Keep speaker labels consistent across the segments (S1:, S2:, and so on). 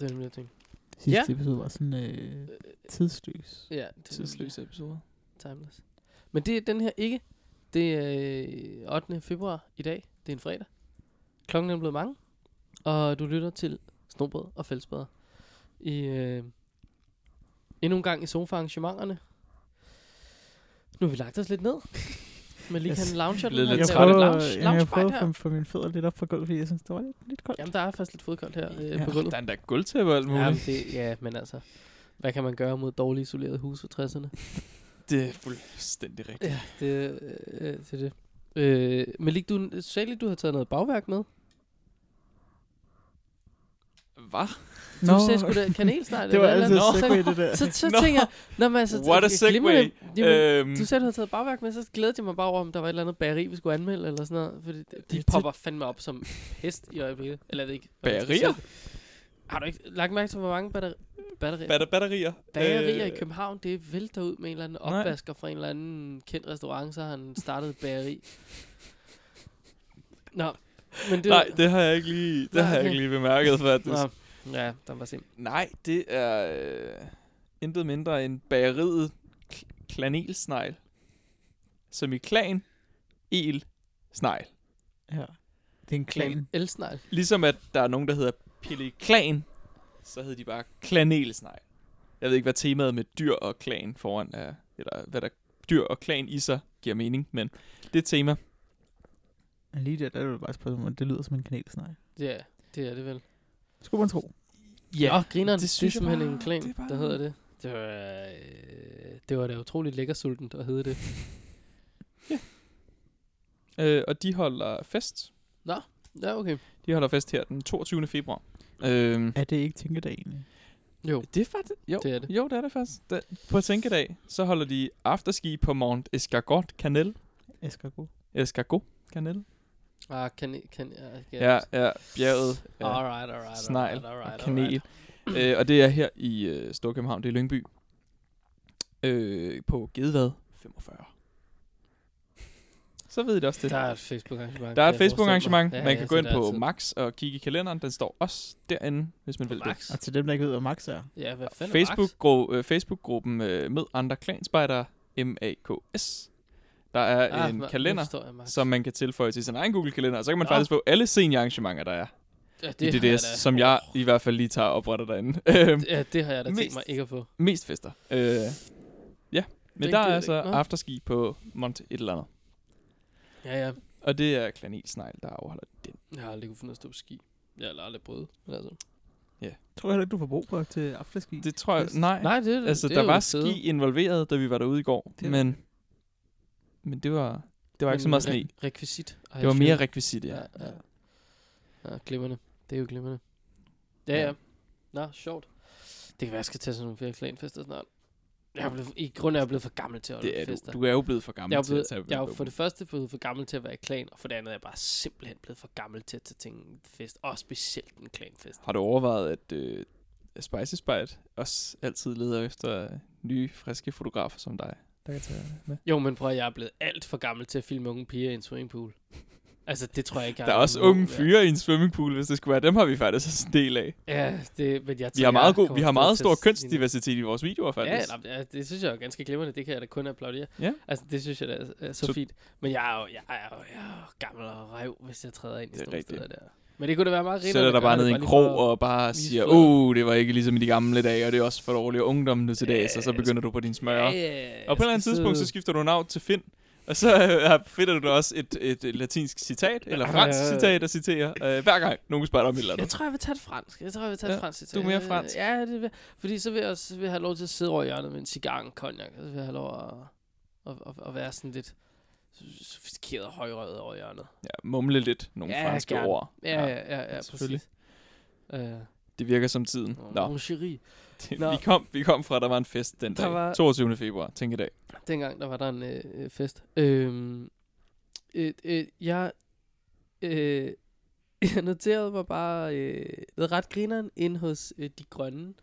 S1: Det er nemlig, jeg tænkte.
S2: Sidste
S1: Ja.
S2: episode var sådan øh, tidsløs.
S1: øh, Ja, det er nemlig
S3: Tidsløse episode.
S1: timeless. Men det er den her ikke. Det er øh, 8. februar i dag. Det er en fredag. Klokken er blevet mange. Og du lytter til Snobrød og Fællesbader. I, øh, endnu en gang i sofaarrangementerne. Nu har vi lagt os lidt ned. Men lige
S2: Jeg
S1: kan
S2: s-
S1: en lounger.
S3: blev
S1: den her.
S2: Jeg
S3: lidt
S1: Der er
S3: træt.
S2: prøver,
S1: lounge,
S2: jamen, jeg
S1: lounge
S2: prøver
S1: lounge
S2: at få, få mine fødder lidt op fra gulvet, fordi jeg synes, det var lidt, lidt koldt.
S1: Jamen, der er faktisk lidt fodkoldt her øh,
S2: Ja.
S1: på gulvet.
S3: Der er endda gulvtæppe og alt muligt.
S1: Ja, men det, ja, men altså, hvad kan man gøre mod dårligt isolerede huse for 60'erne?
S3: det er fuldstændig rigtigt.
S1: Ja, det, øh, øh, det er det. Øh, men Lig, du sagde lige, du havde taget noget bagværk med.
S3: Hvad?
S1: Du no. sagde sgu da kanelsnegl.
S2: det var
S1: eller et
S2: altid
S1: eller andet.
S2: segway, det der.
S1: Så, så, så
S3: Nå.
S1: tænker jeg, Nå, men altså,
S3: What a
S1: okay, glimrende. Jamen,
S3: Øhm,
S1: du sagde, du havde taget bagværk med, så glædede jeg mig bare over, om der var et eller andet bageri, vi skulle anmelde, eller sådan noget. Fordi de, de
S2: det-
S1: popper fandme op som hest i øjeblikket. Eller jeg ved ikke. hvad man skal
S3: Bagerier?
S1: sige. Har du ikke lagt mærke til, hvor mange batteri- batterier?
S3: batter- batterier.
S1: Bagerier øh, i
S3: Øh,
S1: København, det vælter ud med en eller anden
S3: nej.
S1: opvasker fra en eller anden kendt restaurant, så har han startet et bageri. Nå, men det...
S3: Nej, det har jeg ikke lige, det
S1: Nej,
S3: har jeg
S1: okay.
S3: ikke lige bemærket, faktisk.
S1: Nå, ja, der var simpelthen...
S3: Nej, det er øh, intet mindre end bageriet K- Klanelsnegl. Som i klan, el, snegl.
S2: Ja. Det er en klan.
S1: Elsnegl.
S3: Ligesom at der er nogen, der hedder Pelle Klan, så hedder de bare Klanelsnegl. Jeg ved ikke, hvad temaet med dyr og klan foran er, eller hvad der dyr og klan i sig giver mening, men det er et tema.
S2: Men Lige der, der er det bare et spørgsmål, det lyder som en kanelsnegl.
S1: Ja, det er det vel.
S2: Skulle man tro.
S1: Ja, Nå, grineren, det,
S3: det
S1: synes
S3: synes
S1: det
S3: jeg
S1: er simpelthen
S3: bare-
S1: en klan,
S3: det er bare-
S1: der hedder det. Det var, øh, det var da utroligt lækker sultent at hedde det.
S3: Øh, og de holder fest.
S1: Ja, okay.
S3: De holder fest her den 22. februar. Øh,
S2: Er det ikke tænkedag egentlig?
S1: Jo,
S3: det er faktisk... Jo,
S1: det er det.
S3: Jo, det er det faktisk. Da, på tænkedag, så holder de afterski på Mount Escargot Canel.
S2: Escargot.
S3: Escargot Canel?
S1: Ah, kan... kan ah,
S3: Ja, ja, bjerget. Ja,
S1: Alright, alright,
S3: snegl
S1: alright, alright,
S3: og kanel. Øh, og det er her i øh, Storkøbenhavn, det er Lyngby. Øh, på Gedevad 45. Så ved I det også det.
S1: Der er et Facebook-arrangement.
S3: Der er
S1: kan
S3: et
S1: jeg forestille mig.
S3: Facebook-arrangement. Man kan
S1: jeg
S3: gå
S1: ser
S3: ind
S1: det
S3: på
S1: altid.
S3: Max og kigge i kalenderen. Den står også derinde, hvis man vil det.
S1: Max?
S2: Og til dem, der ikke ved, hvad Max er.
S1: Ja, hvad fanden er Max?
S3: Facebook-gru- øh, Facebook-gruppen øh, med andre klanspejdere, MAKS. Der er ah, en
S1: ma- nu
S3: kalender,
S1: forstår jeg, Max.
S3: som man kan tilføje til sin egen Google-kalender, og så kan man
S1: Nå.
S3: faktisk få alle seniorarrangementer, der er
S1: ja,
S3: det i
S1: har jeg
S3: DDS,
S1: da-
S3: som jeg i hvert fald lige tager og opretter derinde. Øhm,
S1: Ja, det har jeg da tænkt
S3: Mest-
S1: mig ikke at få.
S3: Mest fester. Øh, ja, men
S1: Den
S3: der
S1: gider
S3: er
S1: jeg
S3: altså
S1: ikke. Nå.
S3: afterski på Mont et eller andet.
S1: Ja, ja.
S3: Og det er Klanilsnegl, der afholder den.
S1: Jeg har aldrig kunne finde at stå på ski. Jeg har aldrig prøvet. men Altså.
S2: Tror jeg heller ikke, du får brug for til afterski.
S3: Det tror jeg,
S2: Fest.
S3: nej.
S1: Nej, det, er-
S3: altså,
S1: det
S3: der
S1: er jo
S3: var
S1: det fede.
S3: ski involveret, da vi var derude i går,
S2: Det er
S3: men, men det var, det var ikke så
S1: Men
S3: meget
S1: re-
S3: sne.
S1: Rekvisit. Ej,
S3: Det var
S1: jeg
S3: mere
S1: synes-
S3: rekvisit, ja.
S1: Ja, ja. ja glimrende. Det er jo glimrende. Ja, ja.
S3: Ja.
S1: Nå, sjovt. Det kan være, jeg skal tage sådan nogle flere klanfester snart. Jeg er blevet, I grunden er jeg blevet for gammel til at holde
S3: Det er
S1: fester.
S3: du. Du er jo blevet for gammel
S1: jeg er,
S3: til at
S1: blevet,
S3: tage
S1: jeg er jo for det første blevet for gammel til at være i klan, og for det andet er jeg bare simpelthen blevet for gammel til at tage ting i en fest, og specielt en klanfest.
S3: Har du overvejet, at øh, Spicy Spite også altid leder efter øh, nye, friske fotografer som dig? Der kan tage med.
S1: Jo, men prøv at jeg er blevet alt for gammel til at filme unge piger i en swimmingpool. Altså, det tror jeg ikke, jeg
S3: Der er
S1: har
S3: også
S1: noget
S3: unge
S1: mod at-
S3: fyre i en swimmingpool, hvis det skulle være. Dem har vi faktisk også en del af.
S1: Ja, det, men jeg
S3: Vi
S1: tænker,
S3: har meget,
S1: jeg
S3: god,
S1: kommer
S3: vi har
S1: stadig
S3: meget
S1: til
S3: stor
S1: at ligne-
S3: køntsdiversitet i vores videoer,
S1: Ja,
S3: faktisk.
S1: nej, men, altså, det synes jeg er ganske glimrende. Det kan jeg da kun applaudere.
S3: Ja.
S1: Altså, det synes jeg da er, er så, så
S3: Så-
S1: fint. Men jeg er jo, jeg er jo, jeg er jo gammel og rev, hvis jeg træder ind i
S3: Det er
S1: sådan nogle
S3: rigtigt.
S1: steder der. Men det kunne da være meget
S3: Ja,
S1: rigtigt.
S3: Sætter dig bare ned i en krog og bare
S1: vise
S3: siger,
S1: flader.
S3: åh, oh, det var ikke ligesom i de gamle dage, og det er også for dårligt og ungdommen nu til dags,
S1: Ja,
S3: og så
S1: jeg
S3: begynder du på din smøre.
S1: ja, altså,
S3: Og på et eller andet tidspunkt, så skifter du navn til Finn, og så øh, finder du også et, et, et latinsk citat, eller
S1: Ja.
S3: fransk citat, der citerer, øh, hver gang nogen spørger dig om et eller
S1: Jeg
S3: andet.
S1: tror, jeg vil tage et fransk. Jeg tror, jeg vil tage et
S3: Ja,
S1: fransk. citat.
S3: du er mere fransk.
S1: Ja, det vil. Fordi så vil jeg også vil jeg have lov til at sidde over i hjørnet med en cigar og en cognac. Og så vil jeg have lov at, at, at, at være sådan lidt sofistikeret og højrøget over i hjørnet.
S3: Ja, mumle lidt nogle
S1: Ja,
S3: ja, franske
S1: gerne.
S3: ord.
S1: Ja, ja, ja, ja, ja
S3: selvfølgelig.
S1: præcis. Øh,
S3: Det virker som tiden.
S1: Nå.
S3: Nå,
S1: Mon chéri.
S3: det,
S1: Nå.
S3: vi, kom, vi kom fra, at der var en fest den
S1: Der
S3: dag.
S1: var-
S3: 22. februar, tænk i dag.
S1: Dengang der var der en øh, øh, fest. Øhm, øh, øh, jeg, øh, jeg noterede mig bare øh, noget ret grineren ind hos øh, de grønne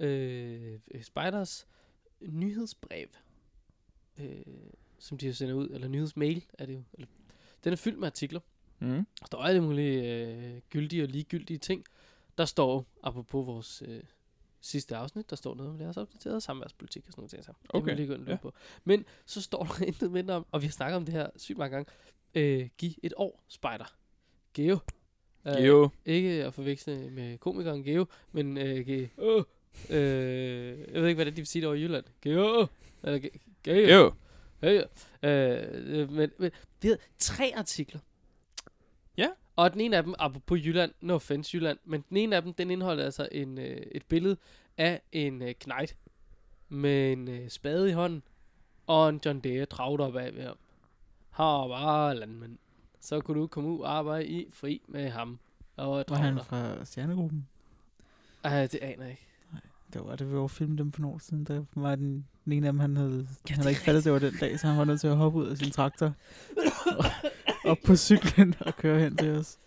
S1: øh, øh, spiders nyhedsbrev, øh, som de jo sender ud, eller nyhedsmail er det jo. Eller, den er fyldt med artikler.
S3: Mm.
S1: Der er alle mulige øh, gyldige og ligegyldige ting. Der står, apropos vores øh, sidste afsnit, der står noget om deres opdaterede samværspolitik og sådan noget ting. sammen. Det
S3: Okay,
S1: vil lige gå ind og
S3: ja.
S1: ja. på. Men så står der intet mindre om, og vi har snakket om det her sygt mange gange, øh, giv et år, spejder. Geo. Øh,
S3: Jo.
S1: Ikke at forveksle med komikeren Geo, men øh, Geo. Øh, jeg ved ikke, hvordan de vil sige det over i Jylland. Geo. Eller Ge- Geo.
S3: Jo.
S1: Ja, ja. Øh, øh, men, men det er tre artikler.
S3: Ja.
S1: Og den ene af dem, på Jylland, no offense Jylland, men den ene af dem, den indeholder altså en, øh, et billede af en øh, knight med en øh, spade i hånden og en John Deere travlt op af ved ham. Har bare landmænd. Så kunne du komme ud og arbejde i fri med ham. Og
S2: Var han
S1: drage
S2: fra Stjernegruppen?
S1: dig. Øh, det aner jeg ikke.
S2: Det var det, vi var filmet dem for nogle år siden. Der var den, den ene af dem, han havde, ja, han
S1: det er
S2: havde ikke fattet, det var den dag, så han var nødt til at hoppe ud af sin traktor. og, op på cyklen og køre hen til os.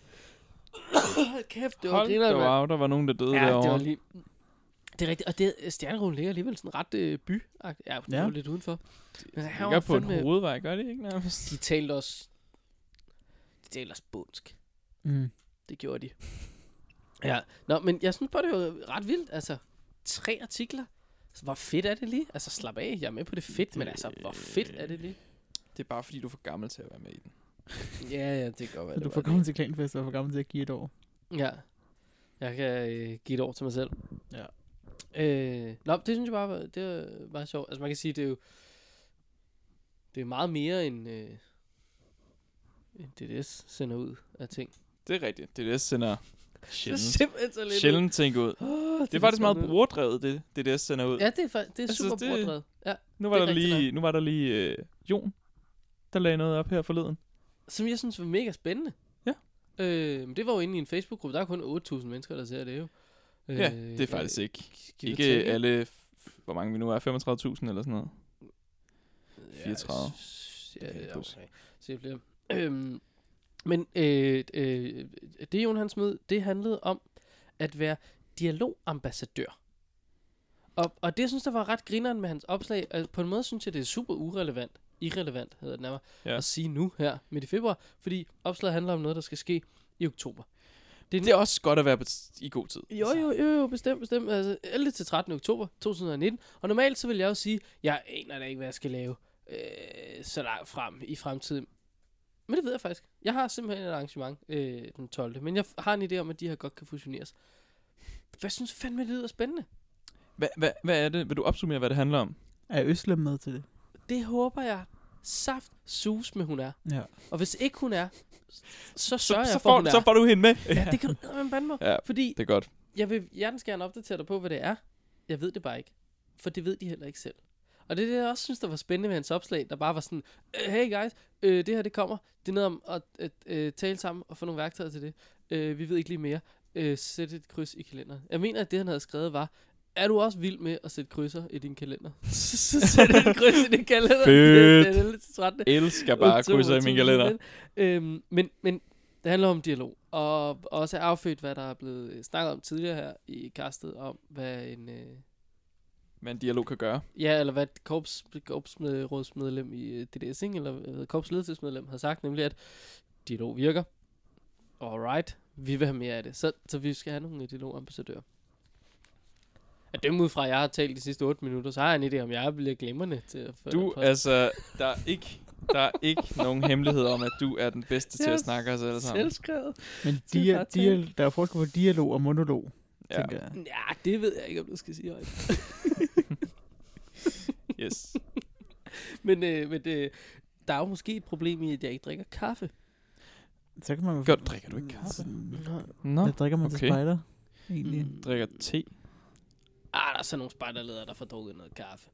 S1: Hold kæft, det var
S3: Hold
S1: grineren,
S3: da
S1: mand.
S3: wow, der var nogen, der døde
S1: Ja, det
S3: derovre.
S1: var lige... Det er rigtigt, og det, Stjerneruden ligger alligevel sådan ret øh, by ja, ja, det var lidt udenfor. Men han
S3: Ligger
S1: var
S3: på en
S1: fandme-
S3: hovedvej, gør det ikke nærmest?
S1: De talte også... De talte også bundsk.
S2: Mm.
S1: Det gjorde de. Ja, nå, men jeg synes bare, det var ret vildt. Altså, tre artikler. Altså, hvor fedt er det lige? Altså, slap af, jeg er med på det fedt, men altså, hvor fedt er det lige?
S3: Det er bare fordi, du er for gammel til at være med i den.
S1: Ja, ja, det kan godt være.
S2: Så du
S1: det
S2: får
S1: var
S2: kommet til klanfest og får kommet til at give et år.
S1: det. Ja. Jeg kan øh, give et år til mig selv.
S2: Ja.
S1: Øh, nå, det synes jeg bare var, det var meget sjovt. Altså, man kan sige, det er jo... Det er meget mere end... Øh, end DDS sender ud af ting.
S3: Det er rigtigt. Det er det, jeg sender
S1: Det er
S3: sjældent,
S1: simpelthen så lidt...
S3: sjældent ting ud. Det er faktisk meget brugerdrevet, det, det er det, jeg sender ud.
S1: Ja, det er, fa- det er
S3: Jeg synes,
S1: super altså,
S3: det-
S1: brugerdrevet. Ja.
S3: Nu var,
S1: det er
S3: der
S1: rigtigt
S3: lige, nu var der lige øh, Jon, der lagde noget op her forleden.
S1: Som jeg synes var mega spændende.
S3: Ja.
S1: Øh, men det var jo inde i en Facebook-gruppe. Der er kun 8.000 mennesker, der ser det jo. Øh,
S3: Ja, det er faktisk ikke.
S1: Giv det
S3: Ikke
S1: til.
S3: alle, f- f- hvor mange vi nu er, 35.000 eller sådan noget.
S1: Ja,
S3: 34.
S1: s-
S3: Det kan
S1: Ja,
S3: ikke
S1: ja,
S3: huske.
S1: okay. Så jeg bliver... Øhm, men øh, øh, det, Jon han smed, det handlede om at være dialogambassadør. Og, og det, jeg synes, der var ret grineren med hans opslag, altså, på en måde synes jeg, det er super urelevant, irrelevant hedder det nærmere,
S3: Ja.
S1: at sige nu her midt i februar, fordi opslaget handler om noget, der skal ske i oktober.
S3: Det er også godt at være på t- i god tid.
S1: Jo, jo, jo, jo, bestemt, bestemt. Altså, 11 til 13. oktober 2019. Og normalt så vil jeg jo sige, jeg aner da ikke, hvad jeg skal lave øh, så langt frem i fremtiden. Men det ved jeg faktisk. Jeg har simpelthen et arrangement øh, den 12. Men jeg f- har en idé om, at de her godt kan fusioneres. Hvad synes du fandme, det lyder spændende?
S3: Hvad, hvad, hvad er det? Vil du opsummere, hvad det handler om?
S2: Er Øslem med til det?
S1: Det håber jeg saft sus med hun er.
S2: Ja.
S1: Og hvis ikke hun er, så
S3: Så,
S1: sørger
S3: så,
S1: jeg for,
S3: får,
S1: hun er.
S3: så får du hende med.
S1: Ja, det kan du eddermame bande mig.
S3: Ja.
S1: Fordi
S3: det er godt.
S1: Jeg vil hjertens gerne opdatere dig på, hvad det er. Jeg ved det bare ikke. For det ved de heller ikke selv. Og det er det, jeg også synes, der var spændende ved hans opslag, der bare var sådan, "Øh, hey guys, øh, det her det kommer. Det er noget om at, at øh, tale sammen og få nogle værktøjer til det. Øh, vi ved ikke lige mere. Øh, sæt et kryds i kalenderen. Jeg mener, at det, han havde skrevet, var, er du også vild med at sætte krydser i din kalender? Så så sæt et kryds i din kalender.
S3: Fedt.
S1: Det, det er lidt trættende.
S3: Elsker bare
S1: Oktober
S3: krydser i
S1: 2019.
S3: min kalender.
S1: Øhm, men, men det handler om dialog, og også er affødt, hvad der er blevet øh, snakket om tidligere her i kastet, om hvad en... Øh,
S3: Hvad en dialog kan gøre.
S1: ja, eller hvad et korps, korpsrådsmedlem i øh, DDS, ikke? eller øh, korpsledelsesmedlem har sagt, nemlig at dialog virker. Alright, vi vil have mere af det. Så, så vi skal have nogle øh, dialogambassadører. At dem ud fra, at jeg har talt de sidste 8 minutter, så har jeg en idé om, jeg bliver glimrende til at få
S3: Du, altså, der er ikke, der er ikke nogen hemmelighed om, at du er den bedste til
S1: Jeg
S3: at snakke os alle sammen.
S1: selvskrevet.
S2: Men
S1: Det er
S2: dia,
S1: bare
S2: dia, der er forskel på dialog og monolog, ja.
S3: Ja,
S2: tænker jeg.
S1: Ja, det ved jeg ikke, om du skal sige højt.
S3: yes.
S1: Men, øh, men øh, der er jo måske et problem i, at jeg ikke drikker kaffe.
S2: Så kan man jo...
S3: Godt, drikker du ikke kaffe? Nå,
S2: Hvad drikker man okay. til
S3: okay.
S2: spejder? Egentlig.
S1: Mm.
S3: drikker te.
S1: Ah, der er så nogle spejderledere, der får drukket noget kaffe.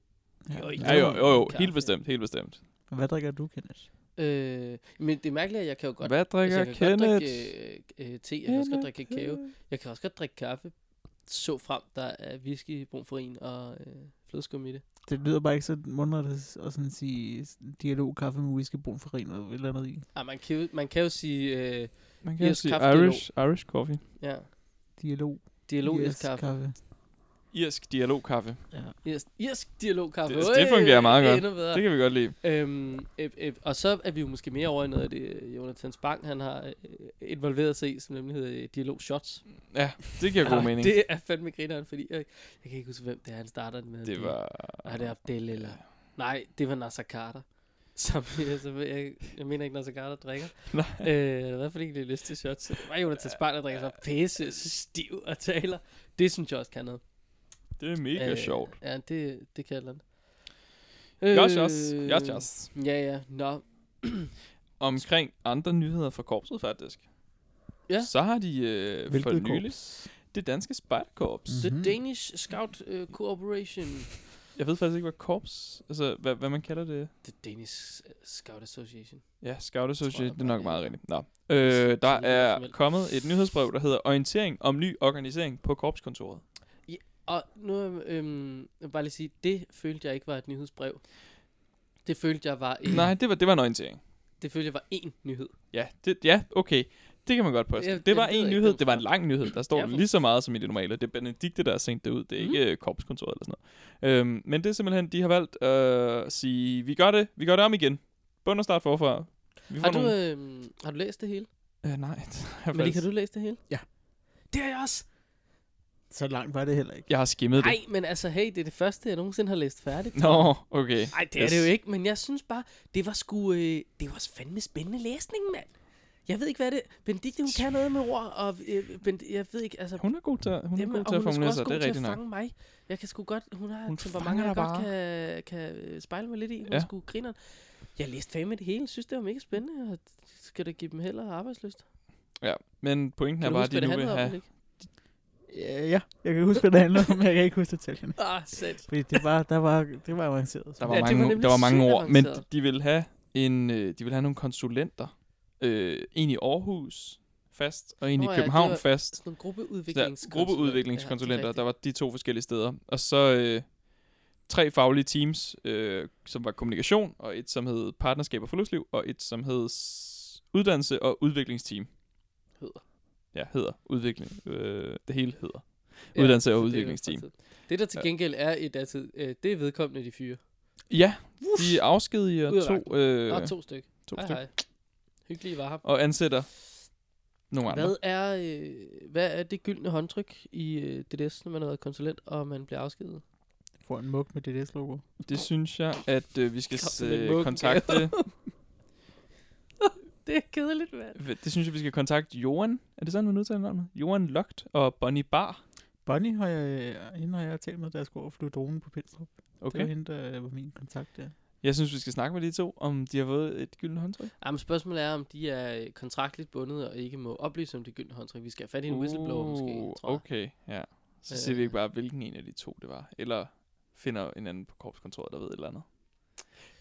S1: Jo, ikke
S3: Ja, jo, jo, jo, helt
S1: Kaffe.
S3: bestemt, helt bestemt.
S2: Hvad drikker du, Kenneth?
S1: Øh, men det er mærkeligt, at jeg kan jo godt...
S3: Hvad
S1: altså,
S3: drikker
S1: jeg kan
S3: Kenneth?
S1: godt drikke øh, øh, te, jeg kan også godt drikke kakao.
S3: Kenneth.
S1: Jeg kan også godt drikke kaffe. Så frem, der er whisky, brunfarin og øh, flødeskum i det.
S2: Det lyder bare ikke så mundret at, at sådan sige dialog, kaffe med whisky, brun farin og et eller andet i.
S1: Ah, man kan jo, man kan jo sige... Øh,
S3: Man kan
S1: Irsk
S3: yes, sige
S1: kaffedialog.
S3: Irish, Irish coffee.
S1: ja,
S2: Dialog.
S1: dialogisk yes, kaffe.
S2: kaffe.
S3: Irsk dialogkaffe.
S1: Irsk, irsk dialogkaffe.
S3: Det- det
S1: Øj,
S3: fungerer meget
S1: det er
S3: godt.
S1: Endnu bedre.
S3: Det kan vi godt lide.
S1: Øhm, øh, øh, og så er vi jo måske mere over i noget af det, øh, Jonathan Spang, han har øh, involveret sig i, som nemlig hedder øh, Dialog Shots.
S3: Ja, det giver god
S1: Og
S3: mening.
S1: Ah, Det er fandme grineren, fordi jeg, jeg kan ikke huske, hvem det er, han starter den med.
S3: Det var...
S1: Er det Abdel eller... Nej, det var Nasser Carter. Som, altså, jeg, jeg mener ikke, Nasser Carter drikker.
S3: Nej.
S1: Øh, eller i hvert fald ikke det lyst til shots. Det var Jonathan Spang, der drikker sig pisse stiv og taler. Det synes jeg også kan noget.
S3: Det er mega
S1: Øh,
S3: sjovt.
S1: Ja, det, det kan jeg eller andet.
S3: Josh også.
S1: øh,
S3: Josh også.
S1: Ja, ja. Nå,
S3: Omkring andre nyheder fra korpset, faktisk.
S1: Ja.
S3: Så har de øh, for
S2: Hvilket
S3: nylig
S2: korps?
S3: det danske spejderkorps.
S1: The
S2: Mhm.
S1: Danish Scout uh, Corporation.
S3: Jeg ved faktisk ikke, hvad korps... Altså, hvad, hvad man kalder det.
S1: The Danish øh, Scout Association.
S3: Ja, Scout Association,
S1: jeg
S3: det
S1: bare,
S3: er nok
S1: ja.
S3: meget rigtigt. Nå.
S1: Så- så
S3: Øh, der
S1: lyder det
S3: er
S1: formelt.
S3: kommet et nyhedsbrev, der hedder Orientering om ny organisering på korpskontoret.
S1: Og nu øhm, jeg vil bare lige sige, det følte jeg ikke var et nyhedsbrev. Det følte jeg var en,
S3: Nej, det var, det var en orientering.
S1: Det følte jeg var én nyhed.
S3: Ja, det, ja okay. Det kan man godt påstå.
S1: Jeg-
S3: det
S1: jeg
S3: var
S1: ved
S3: en
S1: ikke,
S3: nyhed,
S1: hvem
S3: det var en
S1: fra-
S3: lang nyhed. Der står
S1: Ja, for-
S3: lige så meget som i det normale. Det er Benedikte, der har sendt det ud. Det er
S1: Mm.
S3: ikke øh, korpskontoret eller sådan noget. Øhm, men det er simpelthen, de har valgt øh, at sige, vi gør det, vi gør det om igen. Bund og start forfra. Vi får
S1: Har du,
S3: nogle...
S1: øhm, har du læst det hele?
S3: Øh, nej, det har jeg,
S1: Men
S3: faktisk...
S1: kan du læse det hele?
S2: Ja.
S1: Det har jeg også.
S2: Så langt var det heller ikke.
S3: jeg har skimmet
S1: Nej, men altså, hey, det er det første, jeg nogensinde har læst færdigt.
S3: det. Nå, okay.
S1: Nej, det er
S3: Yes.
S1: det jo ikke, men jeg synes bare, det var sgu, øh, det var fandme spændende læsning, mand. Jeg ved ikke, hvad det Benedikte, hun kan noget med ord, og øh, ben, jeg ved ikke, altså...
S3: Hun er god til, at- hun er
S1: Jamen,
S3: god
S1: og
S3: til at
S1: hun er sgu
S3: formulere
S1: også
S3: sig, det
S1: god
S3: er
S1: til at
S3: rigtigt nok.
S1: fange mig. Jeg kan sgu godt, hun har
S3: Hun
S1: et temperament,
S3: fanger
S1: jeg
S3: dig
S1: godt kan, kan øh, spejle mig lidt i. Hun
S3: Ja.
S1: ja. skulle griner. Jeg læste fandme det hele, synes det var mega spændende, og skal da give dem heller arbejdsløst.
S3: Men pointen
S1: Kan
S3: er
S1: du
S3: bare,
S1: huske,
S3: at de
S1: hvad det
S3: nu vil
S1: handlede om,
S3: have...
S1: Nick?
S2: Ja, ja, jeg kan huske, hvad det handler om, men jeg kan ikke huske detaljerne.
S1: Ah, sæt.
S2: Fordi det var, der var, det var avanceret.
S3: Der
S2: Så.
S3: var
S1: Ja, det var
S3: mange,
S1: nemlig
S3: der var mange
S1: sygt
S3: ord, men de,
S1: avanceret.
S3: de ville have en, øh, de ville have nogle konsulenter. Øh, en i Aarhus fast, og en
S1: Nå
S3: i
S1: ja,
S3: København
S1: det var
S3: fast.
S1: Sådan nogle
S3: Der,
S1: gruppeudviklingskonsulenter.
S3: gruppeudviklingskonsulenter, der var de to forskellige steder. Og så øh, tre faglige teams, øh, som var kommunikation, og et som hed partnerskab og forløbsliv, og et som hed s- uddannelse og udviklingsteam.
S1: Hedder.
S3: Ja, hedder. Udvikling. Øh, det hele hedder. uddannelse- og udviklingsteam.
S1: Det, det, der til
S3: Ja.
S1: gengæld er i datid, øh, det er vedkommende, de fyre.
S3: Ja, de afskediger
S1: Ud af
S3: to, øh,
S1: Der er Ah, to stykker.
S3: to
S1: Hej,
S3: stykker.
S1: hej. Hyggelige var ham.
S3: og ansætter nogle andre.
S1: Hvad er, øh, hvad er det gyldne håndtryk i øh, DDS, når man har været konsulent, og man bliver afskedet?
S2: Får en mug med DDS logo.
S3: Det synes jeg, at øh, vi skal
S1: Kom
S3: s-
S1: med
S3: øh,
S1: muggen,
S3: kontakte...
S1: Det er kedeligt, mand.
S3: det synes jeg, vi skal kontakte Johan. Er det sådan, man udtaler navnet? Johan Logt og Bonnie Bar.
S2: Bonnie har jeg, øh, hende har jeg talt med, da jeg skulle overflyve dronen på Pilstrup. Okay. Det var
S3: Okay.
S2: hende, der øh, var min kontakt der.
S3: Jeg synes, vi skal snakke med de to, om de har fået et gyldent håndtryk.
S1: Jamen, spørgsmålet er, om de er øh, kontraktligt bundet og ikke må oplyse om det gyldne håndtryk. Vi skal have fat i en whistleblower
S3: Uh,
S1: måske, tror jeg.
S3: Okay, ja. Så siger vi
S1: Øh.
S3: ikke bare, hvilken en af de to det var. Eller finder en anden på korpskontoret, der ved et eller andet.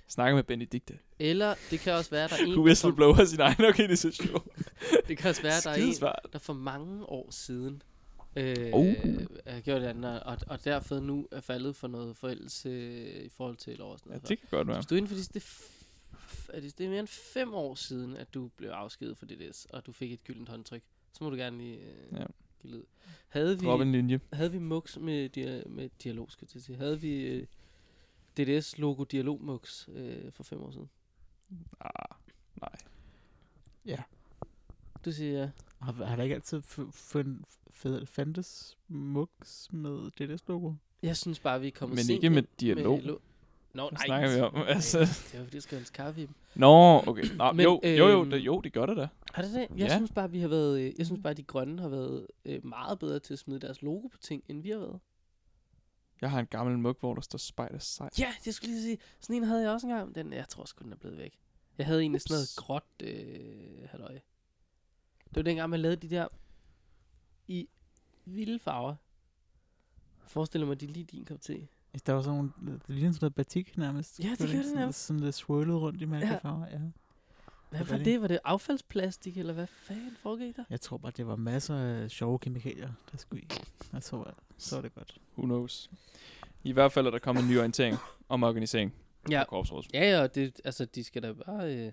S3: Snakker med Benedikte.
S1: Eller det kan også være, der er en,
S3: Du
S1: der for,
S3: whistleblower sin egen. Okay, det er så sjovt.
S1: det kan også være, der er en
S3: Skidesvart.
S1: der for mange år siden øh,
S3: Oh.
S1: oh. har gjort et andet, og, og derfor nu er faldet for noget forældelse øh, i forhold til et år. og Sådan
S3: Ja,
S1: noget.
S3: det kan godt være.
S1: Hvis du er inden for det, det, f- er det, det er mere end fem år siden, at du blev afskedet fra DDS, og du fik et gyldent håndtryk, så må du gerne lige øh,
S3: Ja.
S1: ja. give lyd. Havde vi,
S3: Drop en linje.
S1: havde vi mux med, dia- med dialog, skal jeg til at sige. Havde vi øh, DDS logo dialog mux øh, for fem år siden?
S3: Ah, nej.
S1: Du siger ja.
S2: Har, har der ikke altid f- fund, f- fandtes mugs med DDS logo?
S1: Jeg synes bare, vi er kommet
S3: Men
S1: sent
S3: ikke med
S1: ind
S3: dialog.
S1: lo- Nå,
S3: Hvad
S1: nej.
S3: snakker vi om?
S1: nej,
S3: Altså.
S1: Det er jo fordi, der skal hældes kaffe i dem.
S3: Nå, okay. Nå,
S1: Men,
S3: jo, jo, jo,
S1: øhm,
S3: det, jo, det gør det da.
S1: Har det det? Jeg
S3: Ja.
S1: ja. synes bare, vi har været, øh, jeg synes bare, de grønne har været øh, meget bedre til at smide deres logo på ting, end vi har været.
S3: Jeg har en gammel mug, hvor der står spejder sej.
S1: Ja, det skulle lige sige. Sådan en havde jeg også engang. Den, jeg tror sgu, den er blevet væk. Jeg havde en af sådan noget
S3: Ups.
S1: gråt øh, halløj. Det var dengang, man lavede de der i vilde farver. Jeg forestiller mig, de er lige din kop te.
S2: Altså, Der var sådan nogle, øh, det ligner sådan noget batik nærmest.
S1: Ja, det
S2: Var
S1: gør
S2: ikke
S1: det
S2: sådan,
S1: nærmest.
S2: Sådan lidt swirlet rundt i mælkefarver, ja.
S1: Hvad
S2: Det
S1: var
S2: var
S1: det? Var det affaldsplastik, eller hvad fanden foregik der?
S2: Jeg tror bare, det var masser af sjove kemikalier, der skulle i. Jeg tror, bare- så var det godt.
S3: Who knows? I hvert fald er der kommet en ny orientering om organisering ja.
S1: Ja.
S3: på korpsrådet.
S1: Ja, ja, og det, altså, de skal da bare øh,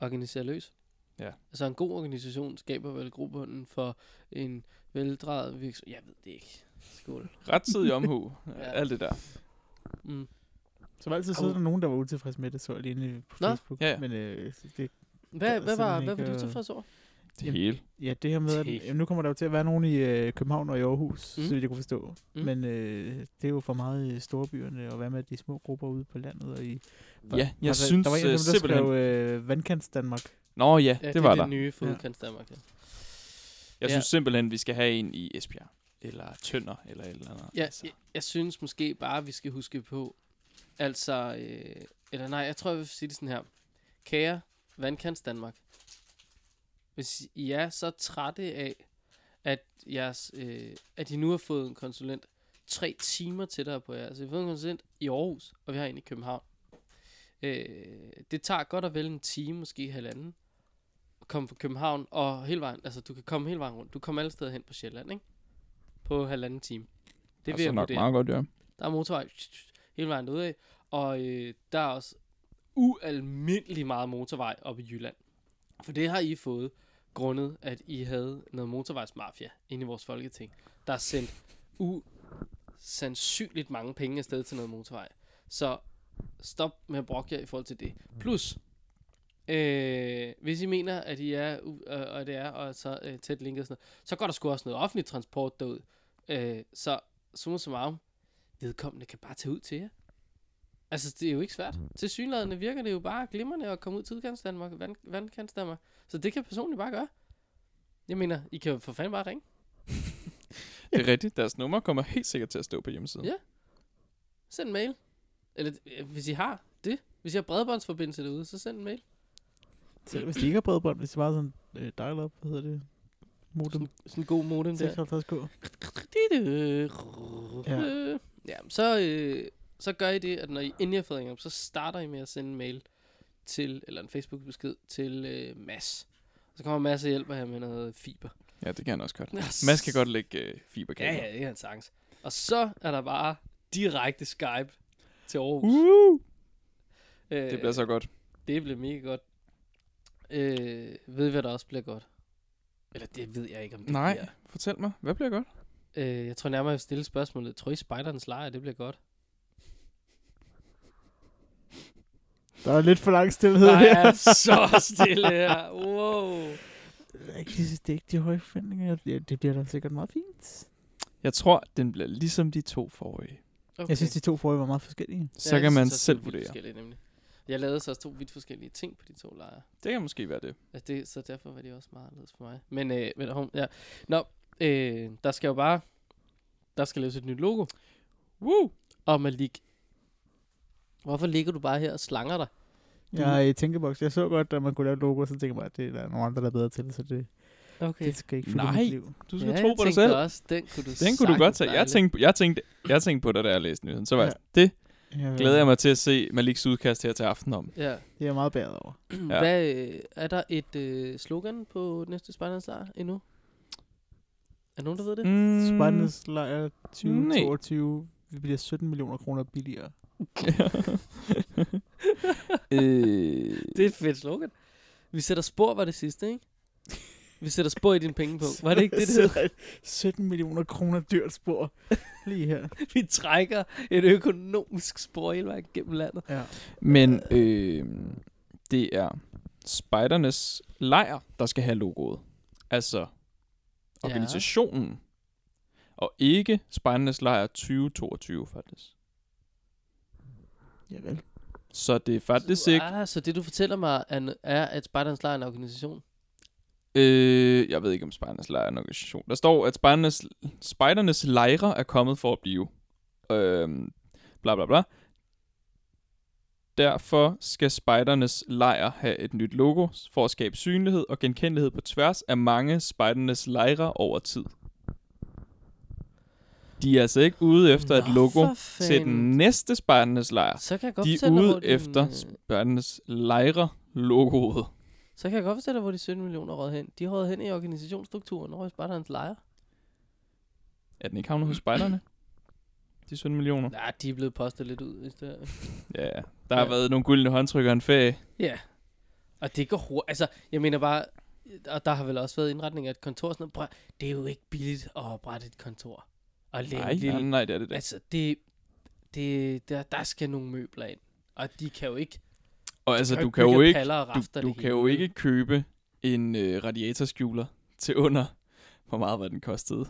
S1: organisere løs.
S3: Ja.
S1: Altså, en god organisation skaber vel grobunden for en veldrejet virksomhed. Jeg ved det ikke. Skål.
S3: Rettidig omhu. ja.
S1: Ja.
S3: Alt det der.
S1: Mm.
S2: Som altid så
S1: Au.
S2: er der nogen, der var utilfredse med det, så jeg lige inde på
S1: Nå.
S2: Facebook.
S3: Ja, ja.
S2: Men øh, det,
S1: Hvad,
S2: er
S1: hvad, var,
S2: simpelthen
S1: hvad var
S2: ikke,
S1: du
S2: øh,
S1: tilfreds over?
S3: Det
S2: Jamen,
S3: hele.
S2: ja, det her med, at
S1: Det-
S2: jamen, nu kommer der jo til at være nogen i øh, København og i Aarhus,
S1: Mm.
S2: mm. så vidt jeg kunne forstå.
S1: Mm.
S2: Mm. Men øh, det er jo for meget i storbyerne, og hvad med de små grupper ude på landet og i
S3: Ja, jeg
S2: der,
S3: synes
S2: der var en af dem,
S3: øh,
S2: der
S3: simpelthen...
S2: skrev øh, Vandkants Danmark.
S3: Nå ja, det, var
S1: er
S3: der.
S1: det nye for udkants Danmark. Ja.
S3: Jeg
S1: Ja.
S3: synes simpelthen, vi skal have en i Esbjerg. Eller Tønder, eller et eller andet.
S1: Ja,
S3: altså.
S1: jeg, jeg synes måske bare, vi skal huske på, altså, øh, eller nej, jeg tror, jeg vil sige det sådan her. Kære Vandkants Danmark, hvis I er så trætte af, at, jeres, øh, at I nu har fået en konsulent tre timer tættere på jer, så vi har fået en konsulent i Aarhus, og vi har en i København. Øh, det tager godt og vel en time, måske halvanden, at komme fra København, og hele vejen, altså du kan komme hele vejen rundt, du kommer alle steder hen på Sjælland, ikke? På halvanden time. Det vil
S3: altså
S1: jeg
S3: nok
S1: vurdere.
S3: meget godt, ja.
S1: Der er motorvej hele vejen derudad, og øh, der er også ualmindelig meget motorvej oppe i Jylland. For det har I fået grundet, at I havde noget motorvejsmafia inde i vores folketing, der har sendt usandsynligt mange penge afsted til noget motorvej. Så stop med at brokke jer i forhold til det. Plus, øh, hvis I mener, at I er, u- øh, og det er og så øh, tæt linket og sådan noget, så går der sgu også noget offentlig transport derud. Øh, så summa summarum, vedkommende kan bare tage ud til jer. Altså, det er jo ikke svært. Til synlædende virker det jo bare glimrende at komme ud til udkants Danmark, vand, vandkants Danmark. Så det kan personligt bare gøre. Jeg mener, I kan jo for fanden bare ringe.
S3: Det er rigtigt. Deres nummer kommer helt sikkert til at stå på hjemmesiden.
S1: Ja. Send en mail. Eller øh, hvis I har det. Hvis I har bredbåndsforbindelse derude, så send en mail.
S2: Selv hvis de ikke har bredbånd, hvis det bare er sådan øh, dial up, hvad hedder det? Modem
S1: Sådan, sådan en god modem der.
S2: 56K.
S1: Ja. ja så, øh, så gør I det, at når I endelig har fået ringet op, så starter I med at sende en mail til, eller en Facebook-besked til øh, Mads. Så kommer Mads og hjælper her med noget fiber.
S3: ja, det kan han også godt.
S1: Og
S3: Mads kan godt lægge øh, fiberkabler.
S1: Ja, ja, det er en chance. Og så er der bare direkte Skype til Aarhus.
S3: Uh,
S1: Øh,
S3: det bliver så godt.
S1: det bliver mega godt. Øh, ved I, hvad der også bliver godt? Eller det ved jeg ikke, om det
S3: Nej,
S1: bliver.
S3: fortæl mig. Hvad bliver godt?
S1: Øh, jeg tror nærmere, jeg vil stille spørgsmålet. Tror I, Spiderens lejr, det bliver godt?
S2: Der er lidt for lang stillhed
S1: Der
S2: her.
S1: er så stille her. Wow.
S2: Jeg synes, det er ikke de høje forventninger. Ja, det bliver da sikkert meget fint.
S3: Jeg tror, den bliver ligesom de to forrige.
S1: Okay.
S2: Okay. Jeg synes, de to forrige var meget forskellige.
S3: Så
S1: jeg
S3: kan man
S1: synes også, de er
S3: selv
S1: vidt
S3: vurdere.
S1: forskellige, Nemlig. Jeg lavede så også to vidt forskellige ting på de to lejre.
S3: Det kan måske være det.
S1: Altså det, så derfor var det også meget anderledes for mig. Men, øh, men hun, ja. Nå, øh, der skal jo bare, der skal laves et nyt logo. Woo! Og Malik, hvorfor ligger du bare her og slanger dig?
S2: Jeg er i tænkeboks. Jeg så godt, at man kunne lave et logo, så tænkte jeg bare, at det er der nogle andre, der er bedre til, så det,
S1: Okay.
S2: det skal ikke fylde
S3: Nej.
S2: mit liv.
S3: Du skal
S1: ja,
S3: tro
S1: jeg
S3: på
S1: tænkte
S3: dig selv.
S1: Også, den kunne du,
S3: Den kunne du
S1: sagtens
S3: godt tage. Jeg
S1: lejle.
S3: tænkte, jeg, tænkte, jeg tænkte på dig, da jeg læste nyheden. Så var
S2: Ja.
S3: ja. jeg, sådan, det
S2: Jeg,
S3: glæder jeg mig til at se Maliks udkast her til aften om.
S1: Ja.
S2: Det er jeg meget bæret over.
S1: ja. Hvad, øh, er der et øh, slogan på næste Spejderens Lejr endnu? Er nogen, der ved det?
S3: Mm,
S2: Spejdernes lejr
S3: 2022.
S2: 2022. Vi bliver 17 millioner kroner billigere.
S3: øh,
S1: Det er et fedt slogan. Vi sætter spor, var det sidste, ikke? Vi sætter spor i din pengepunkt. Var det ikke det, det hed?
S2: 17 millioner kroner dyrt spor. Lige her.
S1: Vi trækker et økonomisk spor hele vejen gennem landet.
S2: Ja.
S3: Men øh, det er spejdernes lejr, der skal have logoet. Altså organisationen. Ja. Og ikke spejdernes lejr 2022, faktisk.
S2: Javel.
S3: Så det er faktisk ikke...
S1: Ah, så det du fortæller mig er, er at Spartans Lejr er en organisation.
S3: Øh, jeg ved ikke, om spejdernes lejr er en organisation. Der står, at spejdernes, spejdernes lejre er kommet for at blive. Øh, bla bla bla. Derfor skal spejdernes lejr have et nyt logo for at skabe synlighed og genkendelighed på tværs af mange spejdernes lejre over tid. De er altså ikke ude efter et
S1: Nå,
S3: logo
S1: for
S3: til den
S1: fanden.
S3: næste spejdernes lejr.
S1: Så kan jeg godt
S3: De er
S1: fortælle dig, hvor
S3: ude
S1: din,
S3: efter
S1: øh,
S3: spejdernes lejre logoet.
S1: så kan jeg godt fortælle dig, hvor de 17 millioner råd hen. De råd hen i organisationsstrukturen over i Spartans Lejr.
S3: Er den ikke havnet hos spejderne? De 17 millioner.
S1: Nej, de er blevet postet lidt ud. Hvis det er.
S3: Ja, der har
S1: Ja.
S3: været nogle gyldne håndtryk og en ferie.
S1: Ja. Og det går hurtigt. Altså, jeg mener bare, og der har vel også været indretning af et kontor. og Sådan noget. Prøv- Det er jo ikke billigt at oprette et kontor. Og lave
S3: Nej,
S1: en lille...
S3: nej, nej, det er det der.
S1: Altså, det, det, der, der skal nogle møbler ind. Og de kan jo ikke...
S3: Og altså,
S1: kan
S3: du
S1: jo
S3: kan jo
S1: bygge
S3: ikke,
S1: paller og rafter
S3: du, du
S1: det
S3: kan
S1: hele,
S3: jo
S1: vel?
S3: ikke købe en øh, radiatorskjuler til under, hvor meget var den kostede?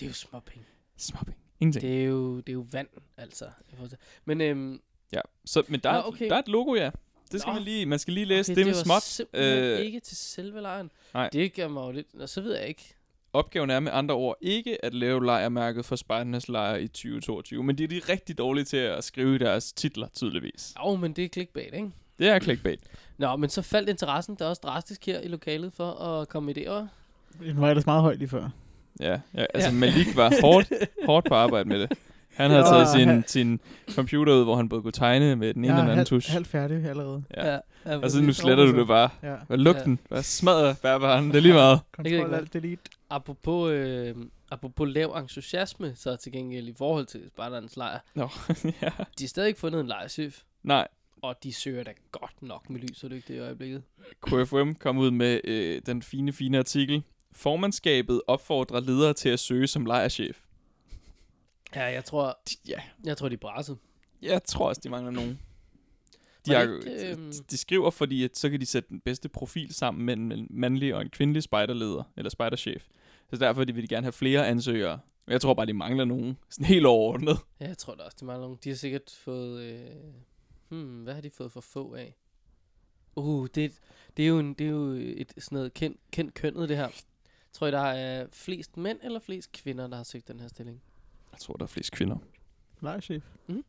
S1: Det er jo småpenge.
S3: Småpenge. Ingenting. Det.
S1: Det er jo, det er jo vand, altså. i forhold til- Men øhm,
S3: Ja, så, men der,
S1: Nå,
S3: er,
S1: okay.
S3: okay. der er et logo, ja. Det skal
S1: Nå.
S3: Nå. man lige, man skal lige læse
S1: okay,
S3: okay, det med
S1: var
S3: småt.
S1: simpelthen
S3: Øh,
S1: ikke til selve lejren.
S3: nej.
S1: Det gør mig jo lidt... Nå, så ved jeg ikke.
S3: Opgaven er med andre ord ikke at lave lejermærket for Spartanas lejr i 2022, men de er de rigtig dårlige til at skrive deres titler, tydeligvis.
S1: Jo, men det er clickbait, ikke?
S3: Det er clickbait.
S1: Nå, men så faldt interessen der også drastisk her i lokalet for at komme i det år.
S2: Den var ellers meget højt lige før.
S3: Ja, ja altså ja. Malik var hårdt, hårdt på arbejde med det. Han havde taget
S2: Ja, han-
S3: sin, sin computer ud, hvor han både kunne tegne med den
S2: jeg
S3: ene og den
S2: er
S3: anden
S2: halv,
S3: tusch.
S2: halvt færdig allerede.
S3: Ja.
S1: ja
S3: Og så
S1: præcis.
S3: nu sletter du
S2: så.
S3: det bare.
S2: Ja.
S3: Hvad lugten? den? Hvad smadrer bærbaren? Det er lige meget.
S1: ikke
S2: Control
S1: godt.
S2: alt delete.
S1: Apropos, øh, apropos lav entusiasme, så til gengæld i forhold til Spartans lejr.
S3: Nå, ja.
S1: De har stadig ikke fundet en lejrchef,
S3: Nej,
S1: og de søger da godt nok med lys og lygte i øjeblikket.
S3: KFM kom ud med øh, den fine, fine artikel. Formandskabet opfordrer ledere til at søge som lejerchef.
S1: Ja, jeg tror,
S3: Ja,
S1: jeg tror de er brasset.
S3: jeg tror også, de mangler nogen. De,
S1: Var
S3: har,
S1: det ikke, øhm,
S3: de, de skriver, fordi at så kan de sætte den bedste profil sammen mellem en mandlig og en kvindelig spejderleder, eller spejderchef. Så derfor de vil de gerne have flere ansøgere. Men Jeg tror bare, de mangler nogen. Sådan helt overordnet.
S1: Ja, jeg tror da også, de mangler nogen. De har sikkert fået... Øh, hmm, hvad har de fået for få af? Uh, det, er et- det, er, jo en, det er jo et sådan noget kendt, kendt kønnet, det her. Tror I, der er flest mænd eller flest kvinder, der har søgt den her stilling?
S3: Jeg tror, der er flest kvinder.
S2: Lejrchef.
S1: Mhm.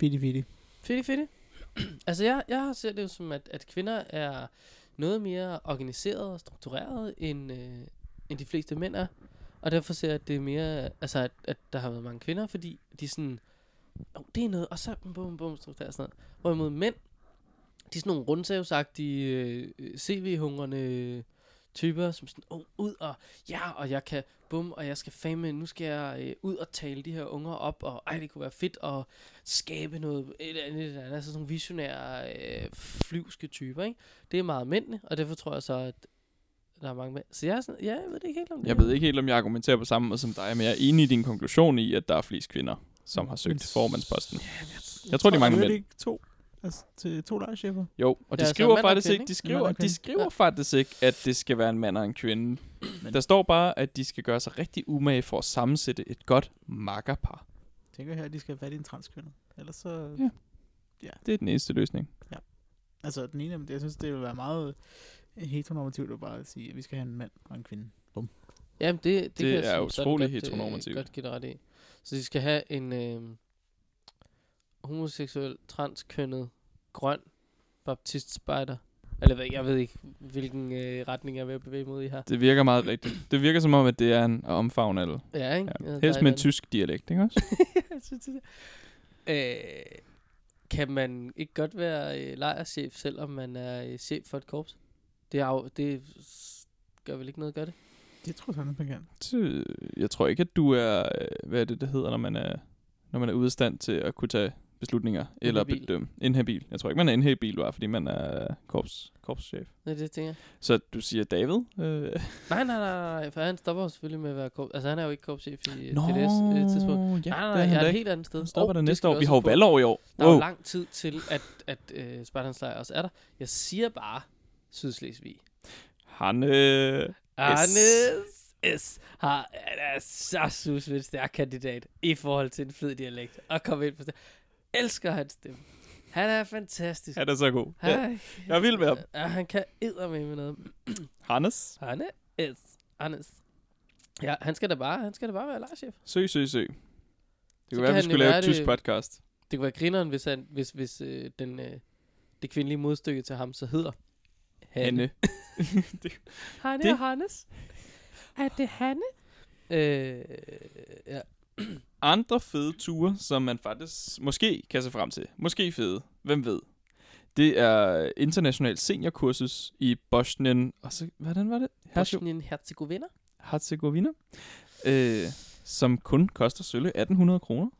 S2: Fidi, fidi.
S1: Fedt, fedt. altså, jeg, jeg ser det jo som, at, at kvinder er noget mere organiseret og struktureret, end, øh, end de fleste mænd er. Og derfor ser jeg, at det er mere, altså, at, at der har været mange kvinder, fordi de er sådan, oh, det er noget, og så bum, bum, bum, struktureret og sådan noget. Hvorimod mænd, de er sådan nogle rundsavsagtige, øh, øh, CV-hungrende typer, som sådan, oh, ud og, ja, og jeg kan, bum, og jeg skal fame, nu skal jeg øh, ud og tale de her unger op, og ej, det kunne være fedt, og skabe noget, et eller andet, et eller andet altså sådan nogle visionære, øh, flyvske typer, ikke? Det er meget mændene, og derfor tror jeg så, at der er mange mænd. Så jeg, er sådan, ja, jeg ved det ikke helt om det.
S3: Jeg ved ikke helt, om jeg argumenterer på samme måde som dig, men jeg er enig i din konklusion i, at der er flest kvinder, som har søgt
S2: Men s-
S3: formandsposten. Jeg tror, de mangler
S2: Hører
S3: mænd.
S2: det ikke to, altså, til to lejrchefer?
S3: Jo, og de
S1: Ja,
S3: ja,
S1: altså
S3: skriver
S1: mand og
S3: faktisk
S1: kvinde,
S3: ikke,
S1: ikke?
S3: de
S2: Mand
S3: skriver,
S2: og
S3: de
S2: kvinde.
S3: skriver
S1: Ja.
S3: faktisk ikke, at det skal være en mand og en kvinde. Men. Der står bare, at de skal gøre sig rigtig umage for at sammensætte et godt makkerpar.
S2: Jeg tænker her, at de skal have fat i en transkønnet. Ellers så...
S3: Ja. Det er den eneste løsning.
S2: Altså, den ene af dem, jeg synes, det ville være meget heteronormativt at bare sige, at vi skal have en mand og en kvinde.
S1: Jamen, det, det,
S3: Det
S1: kan jeg
S3: er
S1: som sådan
S3: utrolig
S1: godt, øh,
S3: heteronormativt.
S1: godt give dig ret i. Så de skal have en øh, homoseksuel, transkønnet, grøn baptist spider. Eller hvad- jeg ved ikke, hvilken øh, retning jeg er ved at bevæge mod i her.
S3: Det virker meget rigtigt. Det virker som om, at det er en omfavn alle.
S1: Ja, ikke?
S3: Ja.
S1: der er et
S3: Helst
S1: eller
S3: med en
S1: andet.
S3: tysk dialekt, ikke også?
S1: Jeg synes, det er- øh, kan man ikke godt være øh, lejerchef, selvom man er øh, chef for et korps? Det, er, jo- det gør vel ikke noget, gør det?
S2: Det tror jeg, man kan.
S3: Så, Øh, Jeg tror ikke, at du er... øh, Hvad er det, det hedder, når man er, når man er ude af stand til at kunne tage beslutninger? Eller
S1: Inhabil.
S3: bedømme. Inhabil. Jeg tror ikke, man er inhabil, bare, fordi man er korps, korpschef.
S1: Det er det, jeg tænker.
S3: Så du siger David? Øh,
S1: Nej, nej, nej, nej, nej, for han stopper jo selvfølgelig med at være korps. Altså, han er jo ikke korpschef i øh, DDS øh, tidspunkt. nej,
S3: Ja, det er
S1: nej,
S3: han
S1: nej, jeg
S3: da
S1: er et
S3: ikke.
S1: helt andet sted.
S3: Den stopper
S1: Og
S3: der
S1: det
S3: næste
S1: skal vi
S3: år. Vi
S1: også
S3: har jo
S1: huske på.
S3: valgår i år.
S1: Der er jo lang tid til, at, at øh, Spartans lejr også er der. Jeg siger bare Sydslesvig.
S3: Han, øh,
S1: Arnes S. Har, han er så susvendt stærk kandidat i forhold til en fed dialekt. Og kom ind på det. Elsker hans stemme. Han er fantastisk.
S3: han er så god. Ja.
S1: Han,
S3: Jeg er vild med ham.
S1: ja, han kan eddermame med noget.
S3: Hannes.
S1: Arne S. Arnes. Ja, han skal da bare, han skal da bare være lejrchef.
S3: Søg, søg, søg. Det
S1: Så
S3: kunne være,
S1: kan
S3: vi
S1: han jo
S3: skulle lave
S1: være
S3: et tysk
S1: det-
S3: podcast.
S1: Det kunne være grineren, hvis, han, hvis, hvis øh, den, øh, det kvindelige modstykke til ham så hedder
S3: Hanne.
S1: Hanne
S3: Det-
S1: og Hannes. Er det Hanne? Øh, ja.
S3: Andre fede ture, som man faktisk måske kan se frem til. Måske fede. Hvem ved? Det er international seniorkursus i Bosnien. Og så, hvordan var det? Herzegovina.
S1: Bosnien-Herzegovina.
S3: Herzegovina, øh, som kun koster sølle 1800 kroner,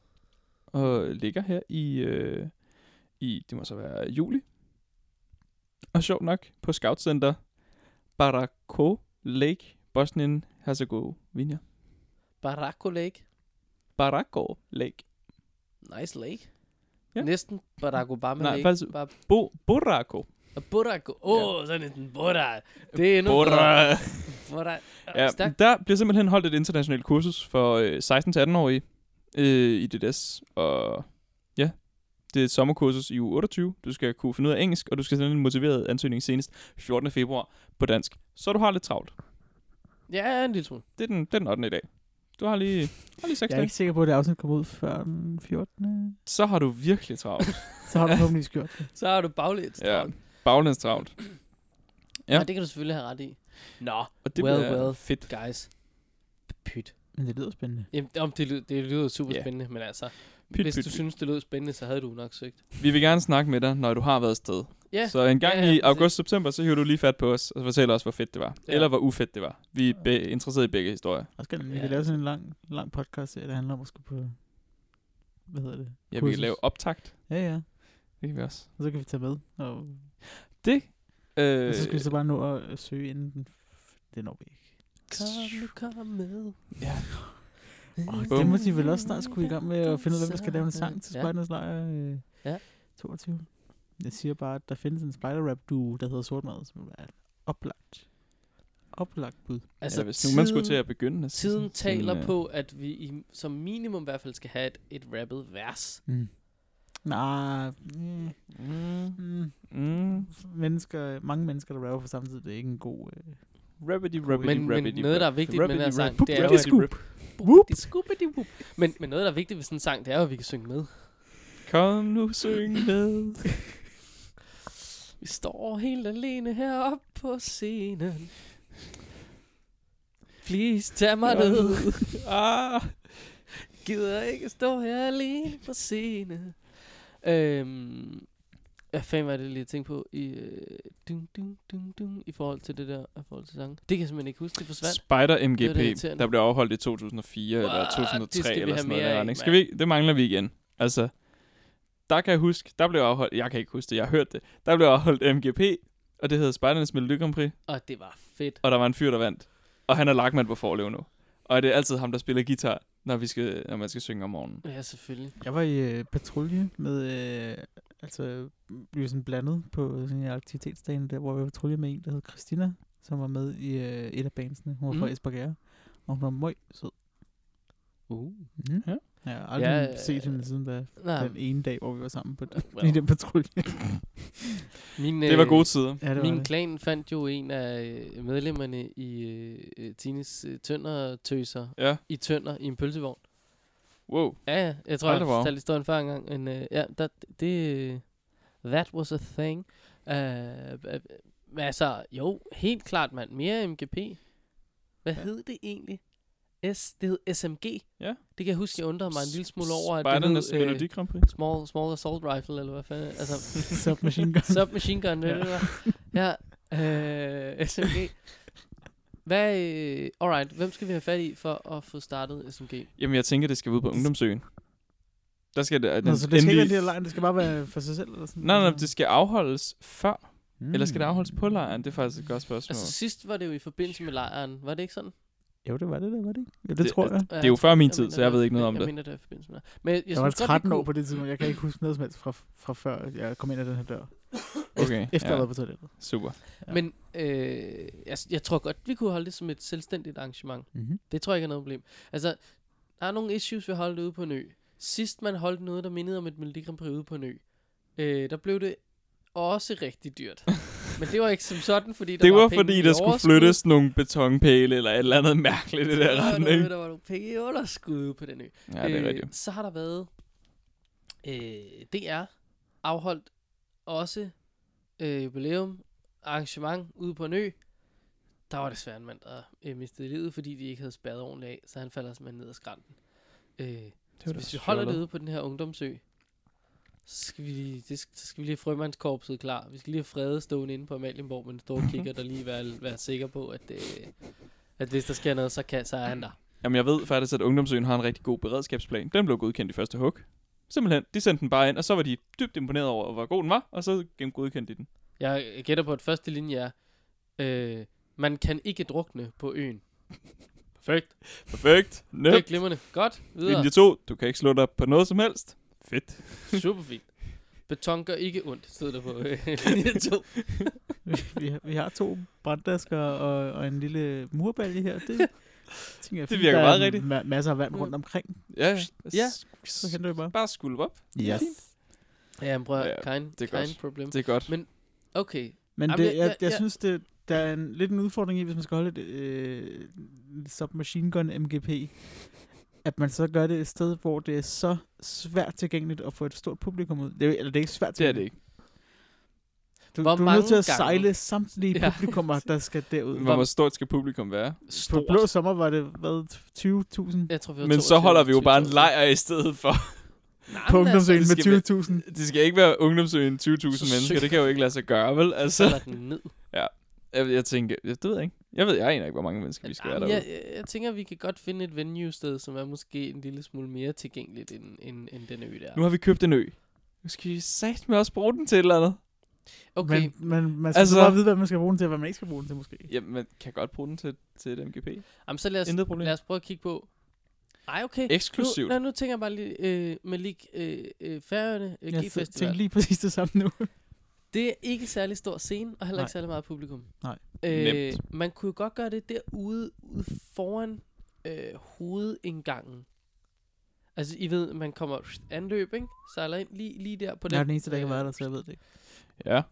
S3: og ligger her i, øh, i, det må så være juli. Og sjovt nok, på Scout Center, Barako Lake, Bosnien, Herzegovina.
S1: Barako Lake.
S3: Barako Lake.
S1: Nice lake.
S3: Ja.
S1: Ja. Næsten Barack Obama
S3: Nej,
S1: Lake.
S3: faktisk-
S1: Bare
S3: Bo, Borako.
S1: Buraco. Åh, oh, sådan en Bora. Det er endnu
S3: Bora.
S1: Bora.
S3: Ja,
S1: Ja. Stærk.
S3: der bliver simpelthen holdt et internationalt kursus for øh, 16-18-årige øh, i DDS, og ja, det er et sommerkursus i uge 28. Du skal kunne finde ud af engelsk, og du skal sende en motiveret ansøgning senest 14. februar på dansk. Så du har lidt travlt.
S1: Ja, en lille smule.
S3: Det er den, det er den 8. i dag. Du har lige, har lige 6
S2: Jeg er
S3: dage.
S2: ikke sikker på, at det afsnit kommer ud før den 14.
S3: Så har du virkelig travlt.
S2: Så har du forhåbentlig gjort det.
S1: Så har du baglæns.
S3: ja,
S1: Ja.
S3: baglæns travlt. Ja.
S1: ja. det kan du selvfølgelig have ret i. Nå,
S3: Og det
S1: Well,
S3: bliver
S1: well.
S3: fedt.
S1: guys. Pyt.
S2: Men det lyder spændende.
S1: Jamen, om det, lyder, det lyder super
S3: Ja.
S1: yeah. spændende, men altså,
S3: Pyt,
S1: hvis
S3: pyt,
S1: du
S3: pyt.
S1: synes, det lyder spændende, så havde du nok søgt.
S3: Vi vil gerne snakke med dig, når du har været afsted.
S1: Ja,
S3: Så en gang
S1: Ja, ja,
S3: ja, ja, i
S1: præcis.
S3: august-september, så hiver du lige fat på os, og fortæller os, hvor fedt det var. Ja.
S1: Ja.
S3: Eller hvor ufedt det var. Vi er be- interesseret i begge historier.
S2: Og skal vi
S1: Ja,
S2: kan
S3: altså.
S2: lave sådan en lang, lang podcast, der handler om at skulle på... Hvad hedder det?
S3: Ja, vi
S2: Kursus.
S3: kan lave optakt.
S2: Ja, ja.
S3: Det kan vi også.
S2: Og så kan vi tage med. Og,
S3: Det. Øh,
S2: og så skal vi så bare nå at øh, søge inden den... Det når vi ikke.
S1: kom nu, kom med.
S3: ja.
S2: Oh,
S3: Bum.
S2: det må de vel også snart skulle i gang med at finde ud af, hvem der skal lave en sang til
S1: Ja.
S2: Spejdernes Lejr øh,
S1: Ja.
S2: 22. Jeg siger bare, at der findes en spider-rap-duo, der hedder Sortmad, som er et oplagt, oplagt bud.
S3: Altså,
S1: Altså,
S3: ja, hvis nu man skulle til at begynde. så-
S1: Tiden
S3: sådan,
S1: taler
S3: øh,
S1: på, at vi i, som minimum i hvert fald skal have et, et rappet vers.
S2: Mm. Nej, mm,
S3: Mm,
S2: mm,
S3: mm,
S2: mennesker, mange mennesker, der rapper på samme tid, det er ikke en god... Øh,
S3: Rabbity, rabbity,
S1: Men- men
S3: rabbity,
S1: noget, der er
S3: rap.
S1: vigtigt med den her
S3: Rabbity,
S1: sang,
S3: rap.
S1: det er jo,
S3: Rabbity,
S1: at-
S3: scoop.
S1: Whoop. Whoop. Men, men noget, der er vigtigt ved sådan en sang, det er jo, at vi kan synge med.
S3: Kom nu, syng med.
S1: Vi står helt alene heroppe på scenen. Please, tag mig
S3: Ja.
S1: ned.
S3: ah.
S1: Gider ikke stå her alene på scenen. Øhm, hvad fanden var det lige, jeg tænkte på i, øh, dum, dum, dum, dum, i forhold til det der, i forhold til sangen? Det kan jeg simpelthen ikke huske, det forsvandt.
S3: Spider
S1: Det var da
S3: MGP,
S1: irriterende.
S3: der blev afholdt i 2004 wow, eller
S1: Wow,
S3: 2003
S1: det skal vi
S3: eller
S1: have
S3: sådan noget.
S1: mere
S3: Der,
S1: af,
S3: retning.
S1: mand.
S3: skal vi, det mangler vi igen. Altså, der kan jeg huske, der blev afholdt, jeg kan ikke huske det, jeg har hørt det, der blev afholdt MGP, og det hedder Spejdernes Melodi Grand Prix,
S1: Og det var fedt.
S3: og der var en fyr, der vandt. Og han er lagmand på forlev nu. Og det er altid ham, der spiller guitar, når, vi skal, når man skal synge om morgenen.
S1: Ja, selvfølgelig.
S2: jeg var i øh, patrulje med... Øh, altså, vi var sådan blandet på sådan en aktivitetsdagen, der, hvor vi var i patrulje med en, der hed Christina, som var med i øh, et af bandsene. Hun var mm. fra
S1: Mm.
S2: Esbjerg, og hun var møg sød.
S1: Uh.
S2: Mm.
S3: Ja.
S2: Ja. Jeg har aldrig
S1: Ja,
S2: ja, set hende siden da,
S1: Nej,
S2: den ene dag, hvor vi var sammen på den,
S1: well.
S2: i den patrulje.
S1: min, øh,
S3: Det var gode tider.
S2: ja, det
S1: Min
S2: det.
S1: klan fandt jo en af øh, medlemmerne i øh, øh, Tines øh, tønder
S3: Ja,
S1: i tønder i en pølsevogn.
S3: wow.
S1: Ja, ja. Jeg tror,
S3: Hold da
S1: jeg
S3: hvor.
S1: fortalte historien før engang. Men uh, ja, der, det... øh, That was a thing. Uh, uh, uh, altså, jo, helt klart, mand. Mere MGP. Hvad
S3: Ja.
S1: ja. hed det egentlig? S, det hed SMG.
S3: Ja.
S1: Det kan jeg huske, jeg undrede mig en lille smule over, at det
S3: Spejdernes
S1: hed, øh,
S3: Melodi Grand Prix.
S1: small, small Assault Rifle, eller hvad fanden. Altså,
S2: Submachine Gun.
S1: submachine gun,
S2: Ja.
S1: det var. Ja, øh, SMG. Hvad, øh, alright, hvem skal vi have fat i for at få startet SMG?
S3: Jamen, jeg tænker, det skal ud på Ungdomsøen. Der skal det...
S2: Nå, så det skal ikke være det her lejr, det skal bare være for sig selv? Eller sådan.
S3: Nej, nej, nej, det skal afholdes før
S2: mm.
S3: Eller skal det afholdes på lejren? Det er faktisk et godt spørgsmål.
S1: Altså
S3: Altså,
S1: sidst var det jo i forbindelse med lejren, var det ikke sådan?
S2: Jo, det var det der, var det ikke? Ja, det,
S3: Det-
S2: det tror
S3: at-
S2: jeg.
S1: Ja,
S3: det er jo før min
S1: jeg
S3: tid,
S1: mener,
S3: så jeg
S1: det
S3: ved
S1: var-
S3: ikke noget om
S1: Jeg
S3: det.
S1: mener, det er i forbindelse med lejren. Men jeg,
S2: Jeg,
S1: synes
S2: var
S1: godt, vi
S2: 13 år
S1: kunne-
S2: på det tidspunkt, jeg kan ikke huske noget som helst fra, fra før, jeg kom ind ad den her dør.
S3: okay,
S2: Efter jeg
S3: ja,
S2: var på toilettet.
S3: super.
S2: Ja.
S1: Men øh, jeg, jeg tror godt, vi kunne holde det som et selvstændigt arrangement.
S2: Mm-hmm.
S1: Det tror jeg ikke er noget problem. Altså, der er nogle issues ved at holde det ude på en ø. Sidst man holdt noget, der mindede om et Melodi Grand Prix ude på en ø, øh, der blev det også rigtig dyrt. Men det var ikke som sådan, fordi der
S3: Det var
S1: penge i
S3: fordi, der skulle
S1: overskud.
S3: flyttes nogle betonpæle eller et eller andet mærkeligt i det der
S1: Der var
S3: retning.
S1: noget, Der var nogle penge i underskud ude på den ø.
S3: Ja, det er rigtigt.
S1: Øh, Så har der været øh, DR afholdt også øh, jubilæum arrangement ude på en ø. Der var desværre en mand, der øh, mistede livet, fordi de ikke havde spærret ordentligt af, så han falder simpelthen ned ad skrænten. Øh, så hvis vi holder det ude på den her ungdomsø, så skal vi lige, det, skal- så skal vi lige have frømandskorpset klar. Vi skal lige have fredet stående inde på Amalienborg med en stor kigger, der lige være, være sikker på, at, øh, at hvis der sker noget, så, kan, så er han der.
S3: Jamen, jeg ved faktisk, at Ungdomsøen har en rigtig god beredskabsplan. Den blev godkendt i første hug. Simpelthen, de sendte den bare ind, og så var de dybt imponeret over, hvor god den var, og så godkendte de den.
S1: Jeg gætter på, at første linje er, øh, man kan ikke drukne på øen. Perfekt.
S3: Perfekt.
S1: Det er
S3: Nemt.
S1: glimrende. Godt. Videre.
S3: Linje 2. Du kan ikke slå dig op på noget som helst. Fedt.
S1: Super fint. Beton gør ikke ondt, stod der på øh, linje 2.
S2: vi, har, vi har to branddasker og, og en lille murbalje her. Det, tænker jeg,
S3: Det
S2: fint.
S3: virker
S2: Der er
S3: meget rigtigt.
S2: Ma- masser af vand rundt omkring.
S3: Ja, ja.
S1: Ja.
S2: Så henter vi bare.
S3: Bare skulp op.
S2: Yes.
S1: Ja, men prøv at
S3: Ja,
S1: høre, kein,
S3: det er
S1: kein
S3: godt.
S1: problem.
S3: Det er godt.
S1: Men- Okay,
S2: Men
S1: Jamen,
S2: det,
S1: jeg-
S2: jeg, jeg,
S1: jeg- jeg-
S2: synes, det, der er en, lidt en udfordring i, hvis man skal holde et øh, submachine gun MGP, at man så gør det et sted, hvor det er så svært tilgængeligt at få et stort publikum ud. Det er, jo- eller det er ikke svært
S3: Det er
S2: tilgængeligt.
S3: det ikke.
S2: Du,
S1: Hvor
S2: du er nødt til
S1: mange
S2: at
S1: gange?
S2: sejle samtlige
S1: Ja.
S2: ja. publikummer, der skal derud.
S3: Men hvor stort skal publikum være?
S2: På
S1: stort.
S2: blå sommer var det, hvad, 20.000?
S1: Jeg tror, vi var
S3: Men så
S1: 22,
S3: holder vi jo bare en
S1: 22.
S3: lejr i stedet for.
S1: Nej,
S2: På
S1: men altså,
S2: ungdomsøen
S3: det skal vi-
S2: med 20.000.
S3: Det skal ikke være ungdomsøen 20.000
S1: Så
S3: mennesker.
S1: sygt.
S3: Det kan jo ikke lade sig gøre, vel?
S1: Så
S3: Altså,
S1: holder den ned.
S3: jeg, jeg tænker, jeg, det ved jeg ikke. Jeg ved, jeg aner ikke, hvor mange mennesker vi skal være
S1: Jamen,
S3: derude.
S1: jeg, jeg, jeg tænker, vi kan godt finde et venue-sted, som er måske en lille smule mere tilgængeligt end, end, end den ø der.
S3: Nu har vi købt en ø. Nu skal vi satme også bruge den til et eller andet.
S1: Okay,
S2: Men, men man skal
S3: Altså-
S2: altså, bare vide, hvad man skal bruge den til, og hvad man ikke skal bruge den til, måske.
S3: Jamen, man kan godt bruge den til, til et MGP.
S1: Jamen, så lad os,
S3: Intet problem.
S1: lad os prøve at kigge på... Ej, okay.
S3: Eksklusivt.
S1: Nu, nej, nu tænker jeg bare lige øh, med lige øh, øh, færøerne, øh,
S2: Jeg
S1: G-festival.
S2: tænkte lige præcis det samme nu.
S1: Det er ikke særlig stor scene, og heller
S2: Nej.
S1: ikke særlig meget publikum.
S2: Nej.
S1: Øh,
S3: Nemt.
S1: man kunne jo godt gøre det derude ude foran øh, hovedindgangen. Altså, I ved, man kommer anløb, ikke? Sejler ind lige, lige der på den.
S2: Jeg er den eneste, der ikke
S1: øh,
S2: har været der, så jeg ved det ikke.
S3: Ja.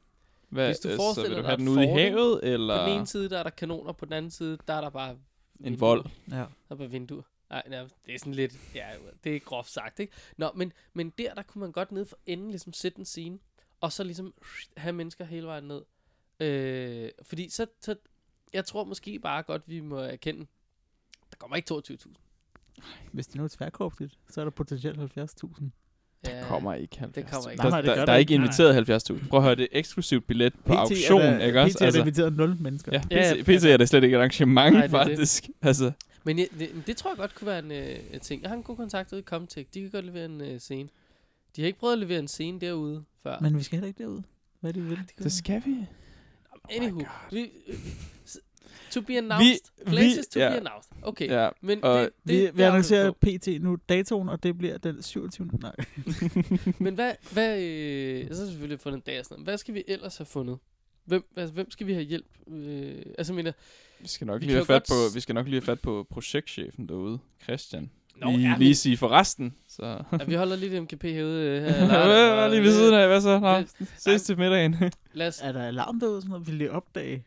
S3: Hvad,
S1: Hvis du
S3: øh, så
S1: forestiller
S3: vil du
S1: dig
S3: have
S1: et
S3: den ude i
S1: fort, ikke?
S3: havet,
S1: På den
S3: eller
S1: ene side, der er der kanoner, på den anden side, der er der bare... vinduer.
S3: en vold?
S2: Ja.
S1: Der er bare vinduer. Nej, nej, det er sådan lidt... Ja, det er groft sagt, ikke? Nå, men, men der, der kunne man godt nede for enden ligesom sætte en scene, og så ligesom have mennesker hele vejen ned. Øh, fordi så, så... Jeg tror måske bare godt, vi må erkende, der kommer ikke 22.000.
S2: Hvis det nu er tværkorpsligt, så er der potentielt 70.000.
S3: Der kommer ikke 70.
S1: det kommer ikke.
S2: Nej,
S3: Der,
S2: nej, det
S3: der,
S2: gør
S3: der,
S2: der
S3: er
S2: ikke.
S3: ikke inviteret 70.000. Prøv at høre, det er eksklusivt billet på auktion,
S2: er der,
S3: ikke også?
S2: PT er altså. inviteret 0 mennesker.
S3: ja,
S2: Ja.
S3: PT,
S1: Ja, ja,
S3: PT er det slet ikke et arrangement,
S1: Nej,
S3: nej,
S1: det er det.
S3: faktisk. Det. Altså,
S1: Men jeg, det, men det tror jeg godt kunne være en øh, ting. Jeg har en god kontakt ude i Comtech. De kan godt levere en øh, scene. De har ikke prøvet at levere en scene derude før.
S2: Men vi skal heller ikke derud. Hvad er det, vi vil?
S3: det skal vi.
S1: Anywho,
S3: God.
S1: vi, øh, s- to be announced. Vi, Places to
S3: ja.
S1: be announced. Okay, ja,
S3: Ja.
S1: men
S3: og
S1: det,
S2: vi,
S1: det, det
S2: vi
S1: arbejder
S2: annoncerer
S1: på.
S2: PT nu datoen, og det bliver den 27. Nej.
S1: Men hvad, hvad øh, så har vi selvfølgelig fundet en dag og sådan noget. Hvad skal vi ellers have fundet? Hvem, altså, hvem skal vi have hjælp? Øh, altså, mener,
S3: Vi skal nok
S1: Vi
S3: lige
S1: kan
S3: have
S1: jo
S3: fat på,
S1: godt s-
S3: vi skal nok lige have fat på projektchefen derude, Christian.
S1: Nå,
S3: Nå, lige,
S1: ja,
S3: lige
S1: men-
S3: sige for resten, så...
S1: at vi holder lidt MKP herude. Øh, her i lørdag,
S3: Ja,
S1: og
S3: lige ved siden af, hvad så? Nå,
S1: det-
S3: ses til middagen.
S1: Lad os,
S2: Er der alarm derude? og Sådan noget? Vil de opdage?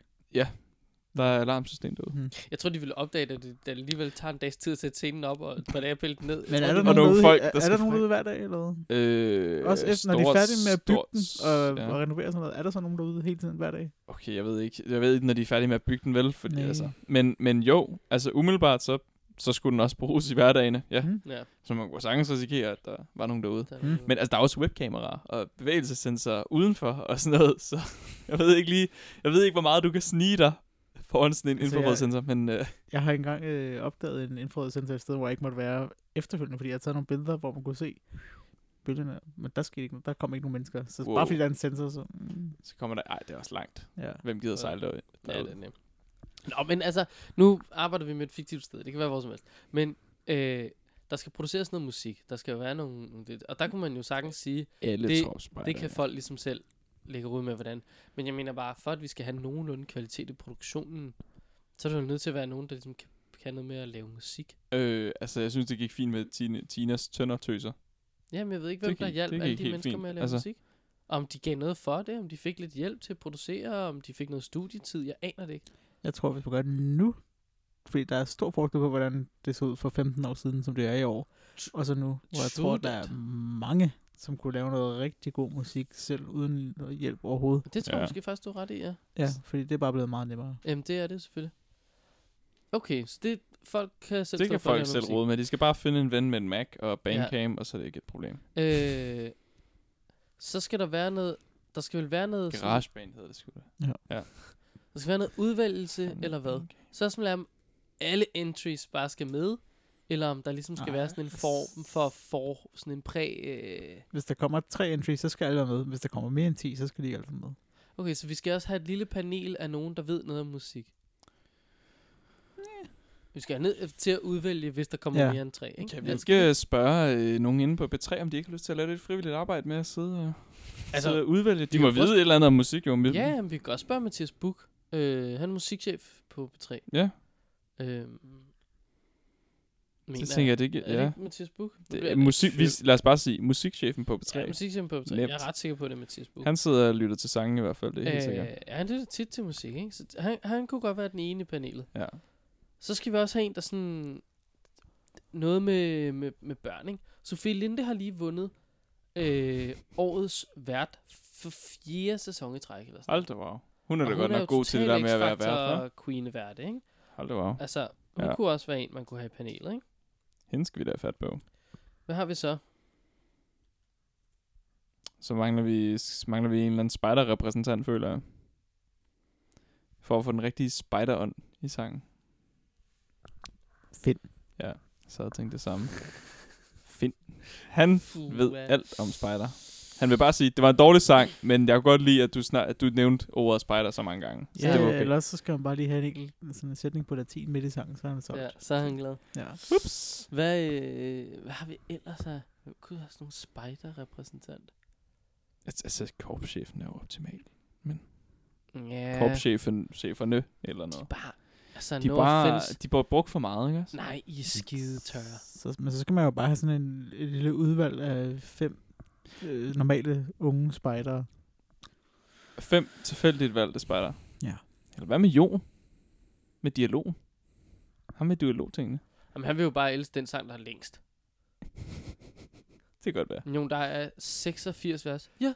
S3: Der er alarmsystem derude.
S2: Mm.
S1: jeg tror, de ville opdage, at det, det alligevel tager en dags tid at sætte scenen op og et par dage at pille den ned. Jeg
S2: Men
S1: tror,
S2: er der
S1: de-
S3: Og
S2: nogen,
S3: nogle
S2: derude,
S3: folk,
S2: er,
S3: der
S2: er
S3: skal
S2: der nogen
S3: frem.
S2: derude hver dag? Eller hvad?
S3: Øh,
S2: Også efter, når de er
S3: stort-
S2: færdige med at bygge den
S3: stort-
S2: og,
S3: ja.
S2: og renovere sådan noget, er der så nogen derude hele tiden hver dag?
S3: Okay, jeg ved ikke, jeg ved ikke når de er færdige med at bygge den vel, fordi,
S2: Nej.
S3: altså, men, men jo, altså umiddelbart, så, så skulle den også bruges i hverdagene, ja.
S2: Mm.
S1: Ja,
S3: Så man kunne sagtens risikere, at der var nogen derude.
S1: der er
S2: Mm.
S1: nogen.
S3: Men altså, der er også webkameraer og bevægelsessensorer udenfor og sådan noget, så jeg ved ikke lige, jeg ved ikke, hvor meget du kan snige dig foran sådan en
S2: Altså,
S3: infrarød sensor, men øh,
S2: Jeg har engang øh, opdaget en infrarød sensor et sted, hvor jeg ikke måtte være efterfølgende, fordi jeg havde taget nogle billeder, hvor man kunne se billederne. Men der, skete ikke, noget. der kom ikke nogen mennesker. Så
S3: Wow.
S2: bare fordi der er en sensor, så... Mm,
S3: så kommer der, ej, det er også langt.
S2: ja.
S3: Hvem gider sejle derud?
S1: Ja, det
S3: derud?
S1: er nemt. Nå, men altså, nu arbejder vi med et fiktivt sted. Det kan være hvor som helst. Men øh, der skal produceres noget musik. Der skal jo være nogle... nogle det- Og der kunne man jo sagtens sige,
S3: Alle
S1: Det-
S3: tropspejder,
S1: det kan
S3: ja.
S1: folk ligesom selv lægge ud med, hvordan. Men jeg mener bare, for at vi skal have nogenlunde kvalitet i produktionen, så er der jo nødt til at være nogen, der ligesom kan, kan noget med at lave musik.
S3: Øh, altså, jeg synes, det gik fint med Tine, Tinas tøndertøser.
S1: Jamen, jeg ved ikke,
S3: Det
S1: hvem der
S3: gik-
S1: hjalp
S3: det
S1: alle
S3: gik
S1: de
S3: helt
S1: mennesker
S3: fint.
S1: med at lave altså.
S3: Altså-
S1: musik. Om de gav noget for det, om de fik lidt hjælp til at producere, om de fik noget studietid, jeg aner det ikke.
S2: Jeg tror, vi skal gøre det nu. Fordi der er stor forskel på, hvordan det så ud for 15 år siden, som det er i år. Og så nu, hvor jeg tror, der er mange, som kunne lave noget rigtig god musik, selv uden noget hjælp overhovedet.
S1: Det tror jeg
S3: Ja.
S1: måske faktisk, du er ret i, ja.
S2: Ja, fordi det er bare blevet meget nemmere.
S1: Jamen, det er det selvfølgelig. Okay, så det folk kan selv
S3: Det
S1: stå
S3: kan
S1: for at
S3: folk
S1: lave
S3: selv
S1: musik.
S3: rode med. De skal bare finde en ven med en Mac og Bandcam, ja. og så er det ikke et problem.
S1: Øh, så skal der være noget... Der skal vel være noget... sådan-
S3: GarageBand hedder det sgu da.
S1: Der skal være noget udvælgelse, eller hvad? Så som om alle entries bare skal med, eller om der ligesom skal
S2: Nej,
S1: være sådan en
S2: altså-
S1: form for, for sådan en præ... Øh...
S2: Hvis der kommer tre entries, så skal alle være med. Hvis der kommer mere end 10, så skal de ikke alle være med.
S1: Okay, så vi skal også have et lille panel af nogen, der ved noget om musik. Vi skal ned til at udvælge, hvis der kommer
S2: Ja.
S1: ja. mere end tre. Ikke? Altså,
S3: Kan vi ikke Altså, spørge øh, nogen inde på B3, om de ikke har lyst til at lave lidt frivilligt arbejde med at sidde og altså,
S1: Altså,
S3: sidde og udvælge? De
S1: kan
S3: må
S1: jo
S3: vide
S1: prøve-
S3: et eller andet om musik, jo. men-
S1: Ja, jamen, vi kan godt spørge Mathias Buk. Øh, han er musikchef på B3.
S3: Ja,
S1: Øh,
S3: så tænker jeg, det ikke...
S1: Er det
S3: Ja.
S1: ikke Mathias Buk? Nu bliver
S3: Det, øh,
S1: jeg
S3: musik,
S1: lidt
S3: vi,
S1: i tvivl.
S3: lad os bare sige, musikchefen på B3.
S1: Ja, musikchef på B3.
S3: Nemt.
S1: Jeg er ret sikker på, at det er Mathias Buk.
S3: Han sidder og lytter til sange i hvert fald, det er helt sikkert.
S1: øh, ja, han lytter tit til musik, ikke? Så han, han kunne godt være den ene i panelet.
S3: Ja.
S1: Så skal vi også have en, der sådan... Noget med, med, med børn, ikke? Sofie Linde har lige vundet øh, årets vært for fjerde sæson i træk. Eller sådan.
S3: Hold da wow. Hun er
S1: Og
S3: da
S1: hun
S3: godt
S1: er
S3: nok
S1: jo
S3: god til det der
S1: total
S3: med at være
S1: X-Factor
S3: vært, hva'?
S1: queen vært, ikke?
S3: Hold da wow.
S1: Altså, hun
S3: Ja.
S1: ja. kunne også være en, man kunne have i panelet, ikke?
S3: Hende skal vi da have fat på.
S1: Hvad har vi så?
S3: Så mangler vi, s- mangler vi en eller anden spider-repræsentant, føler jeg. For at få den rigtige spider i sangen.
S2: Finn.
S3: Ja, så havde jeg tænkt det samme. Finn. Han
S1: Fuh,
S3: ved
S1: ja.
S3: alt om spider. Han vil bare sige, det var en dårlig sang, men jeg kunne godt lide, at du, snart, at du nævnte ordet spider så mange gange. Så
S2: Ja,
S3: det var
S2: okay.
S3: okay.
S2: ellers så skal man bare lige have en enkelt sådan en sætning på latin midt i sangen, så er han solgt.
S1: Ja, så er han glad.
S2: ja.
S3: Ups.
S1: Hvad, øh, hvad har vi ellers af? Hvem kunne have sådan nogle spider-repræsentant?
S3: Altså, altså korpschefen er jo optimal.
S1: Ja,
S3: Ja. Korpschefen, cheferne, eller
S1: de
S3: noget.
S1: er bare... Altså,
S3: De,
S1: no
S3: bare,
S1: offense.
S3: de bare brugt for meget, ikke også?
S1: Nej, I er skide tørre.
S2: Så, men så skal man jo bare have sådan en, et lille udvalg af fem øh, normale unge spejdere.
S3: Fem tilfældigt valgte spejder.
S2: Ja.
S3: Eller hvad med Jon? Med dialog? Ham med dialogtingene.
S1: Jamen, han vil jo bare elske den sang, der er længst.
S3: Det kan godt være.
S1: Jo, der er 86 vers. Ja.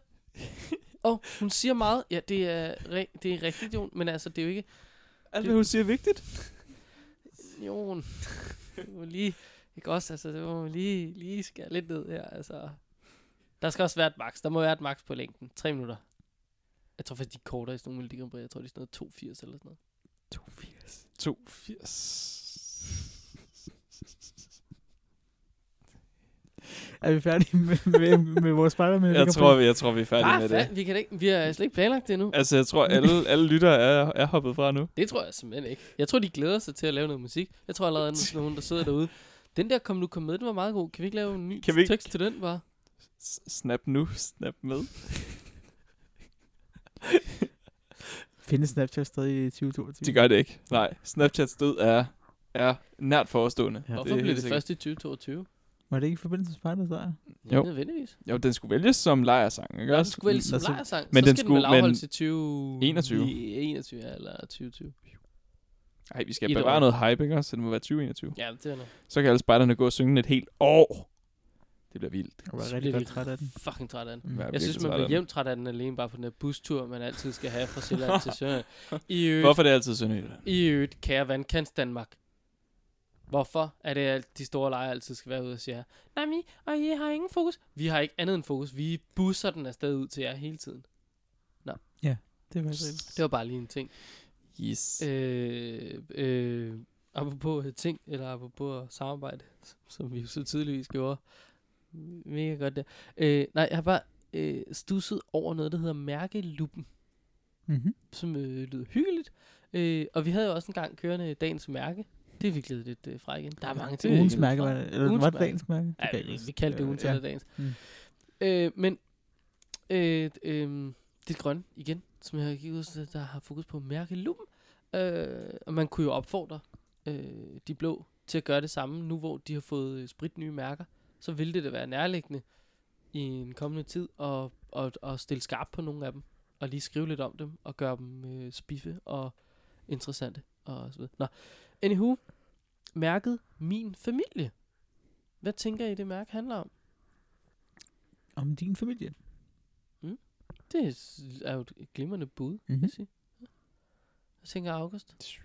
S1: Og hun siger meget. Ja, det er, re- det er rigtigt, Jon. Men altså, det er jo ikke...
S3: Alt hvad hun siger er vigtigt.
S1: Jon, det må lige... Ikke også? Altså, det må man lige, lige skære lidt ned her. Altså, der skal også være et max. Der må være et max på længden. 3 minutter. Jeg tror faktisk, de er kortere i sådan nogle Melodi Grand Prix. Jeg tror, de er sådan noget 82 eller sådan noget.
S2: 82.
S3: 82.
S2: Er vi færdige med, med, med vores spejder? Med
S3: Jeg tror, vi, jeg tror, vi er færdige
S1: Ah,
S3: med
S1: fanden,
S3: det.
S1: vi, kan da ikke, vi har slet ikke planlagt det endnu.
S3: Altså, jeg tror, alle, alle lyttere er, er hoppet fra nu.
S1: Det tror jeg simpelthen ikke. Jeg tror, de glæder sig til at lave noget musik. Jeg tror allerede, at nogen, der sidder derude. Den der kom nu kom med, den var meget god. Kan vi ikke lave en ny
S3: Kan vi ikke-
S1: tekst til den, bare?
S3: S- Snap nu, snap med.
S2: Findes Snapchat stadig i 2022?
S3: Det gør det ikke. Nej, Snapchats død er, er nært forestående.
S2: Ja.
S1: Hvorfor
S3: er
S1: det blev
S3: helt
S1: det
S3: sikkert.
S1: først i 2022?
S2: Var det ikke i forbindelse med spejder, så?
S1: Ja,
S3: Jo.
S1: nødvendigvis.
S3: Jo, den skulle vælges som lejersang, ikke
S1: Ja, den
S3: også?
S1: skulle vælge som
S2: altså,
S1: lejersang.
S3: men
S1: Men
S3: den
S1: så skal den vel
S3: skulle- men-
S1: afholdes i 20...
S3: 21.
S1: I 21, ja, eller 2020.
S3: Ej, vi skal
S1: Et
S3: bevare
S1: år.
S3: noget hype, ikke også? Så det må være 2021.
S1: Ja, det er noget.
S3: Så kan alle spejderne gå og synge et helt år. Det bliver vildt.
S2: Jeg var
S1: Så
S2: rigtig
S1: bliver
S2: godt
S1: de
S2: træt af den.
S1: Fucking træt af den.
S2: Mm.
S3: Ja. Jeg
S1: Jeg
S3: virkelig
S1: synes, man
S3: træt af
S1: bliver
S3: den.
S1: jævnt træt af den alene bare på den der bustur, man altid skal have fra Sjælland til Sønderjylland. I øvrigt,
S3: Hvorfor er det altid Sønderjylland?
S1: I øvrigt, kære vandkants Danmark. Hvorfor er det, at de store lejre altid skal være ude og sige her? Nej, men I, og I har ingen fokus. Vi har ikke andet end fokus. Vi busser den afsted ud til jer hele tiden.
S2: Det var rigtig.
S1: Det var bare lige en ting.
S3: Yes.
S1: Øh, øh, apropos øh, ting, eller apropos øh, samarbejde, som- som vi jo så tydeligvis gjorde. Mega godt der. Øh, nej, jeg har bare øh, stusset over noget, der hedder mærkeluppen.
S2: Mm-hmm.
S1: som øh, lyder hyggeligt. Øh, og vi havde jo også engang kørende dagens mærke. Det er vi gledet lidt øh, fra igen. Der er mange ting. vi er
S2: Ugens
S1: gledet
S2: mærke
S1: fra.
S2: var det. Eller
S1: Ugens
S2: var det
S1: mærke.
S2: dagens mærke? Det kan
S1: Ja,
S2: jeg ikke
S1: vi,
S2: huske.
S1: vi kaldte det ugens
S2: Ja.
S1: eller dagens.
S2: Mm.
S1: Øh, men øh, øh, det er grønne igen, som jeg gik ud der har fokus på mærkelum. Øh, og man kunne jo opfordre øh, de blå til at gøre det samme, nu hvor de har fået øh, sprit nye mærker. Så ville det da være nærliggende i en kommende tid at, at, at stille skarp på nogle af dem. Og lige skrive lidt om dem, og gøre dem øh, spiffe og interessante. Og så videre. Nå, anywho, mærket Min Familie. Hvad tænker I, det mærke handler om?
S2: Om din familie.
S1: Det er s- er jo et glimrende bud, mm-hmm. vil
S2: Mhm.
S1: jeg sige. Hvad tænker August?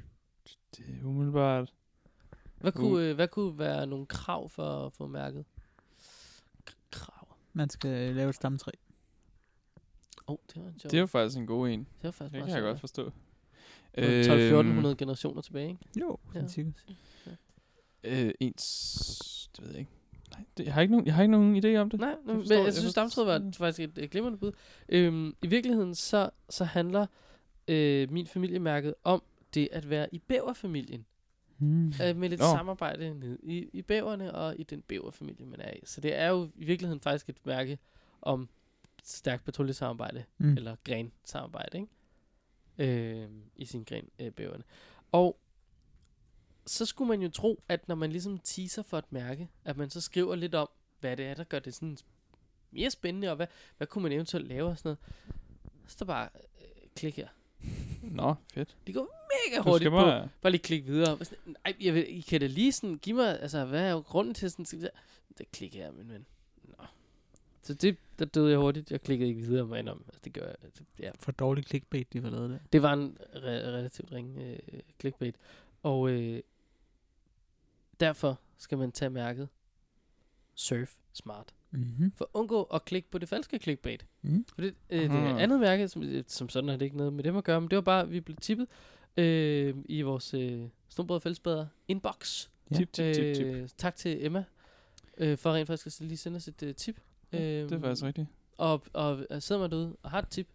S3: Det er umiddelbart.
S1: Hvad
S3: Uh.
S1: kunne, øh, hvad kunne være nogle krav for at få mærket? K- krav.
S2: Man skal øh, lave et stamtræ.
S1: Åh, oh, det var en sjov.
S3: Det er jo faktisk en god en.
S1: det var faktisk
S3: Det
S1: meget
S3: kan jeg godt Øhm.
S1: sjovt.
S3: forstå.
S1: Det var 12-1400 generationer tilbage, ikke?
S2: Jo, ja. sikkert.
S3: Øh, øh, ens... Det ved jeg ikke. Nej, det, jeg, har ikke nogen, jeg har ikke nogen idé om det.
S1: Nej, men
S3: forstår
S1: jeg,
S3: jeg.
S1: Mm. jeg
S3: Jeg
S1: synes, stamtråd var
S3: forstår-
S1: faktisk et, et glimrende bud. Øhm, I virkeligheden, så, så handler øh, min familiemærket om det at være i bæverfamilien.
S2: Mm.
S1: øh, med lidt
S3: Nå.
S1: Nå. samarbejde ned i, i bæverne og i den bæverfamilie, man er i. Så det er jo i virkeligheden faktisk et mærke om stærkt patruljesamarbejde,
S2: Mm.
S1: mm. eller grensamarbejde, ikke? Øh, i sin gren øh, bæverne. Og så skulle man jo tro, at når man ligesom teaser for et mærke, at man så skriver lidt om, hvad det er, der gør det sådan mere spændende, og hvad, hvad kunne man eventuelt lave og sådan noget. Så der bare, øh, klik her.
S3: Nå, fedt.
S1: Det går mega
S3: Du
S1: hurtigt
S3: skal
S1: på.
S3: bare...
S1: Bare lige klik videre. Og sådan, Ej, jeg vil, I kan da lige sådan, give mig, altså, hvad er jo grunden til sådan, sådan det klik her, min ven. Nå. Så det, der døde jeg hurtigt. Jeg klikkede ikke videre med om. Altså, det gør jeg. Det, ja.
S2: For dårlig clickbait, de har lavet der.
S1: det var en re- relativt ringe øh, clickbait. Og øh, derfor skal man tage mærket Surf Smart.
S2: Mm-hmm.
S1: For at undgå at klikke på det falske clickbait.
S2: Mm.
S1: For det, øh, det er
S3: Aha.
S1: andet mærke, som, øh, som sådan har det ikke noget med dem at gøre, men det var bare, at vi blev tippet øh, i vores øh, snobrød og fællesbader inbox.
S2: Ja.
S3: Tip, tip, tip, tip.
S1: Øh, tak til Emma, øh, for rent faktisk at lige sende os et øh, tip. Øh,
S3: Det er faktisk rigtigt.
S1: Og, og, og sidder man derude og har et tip,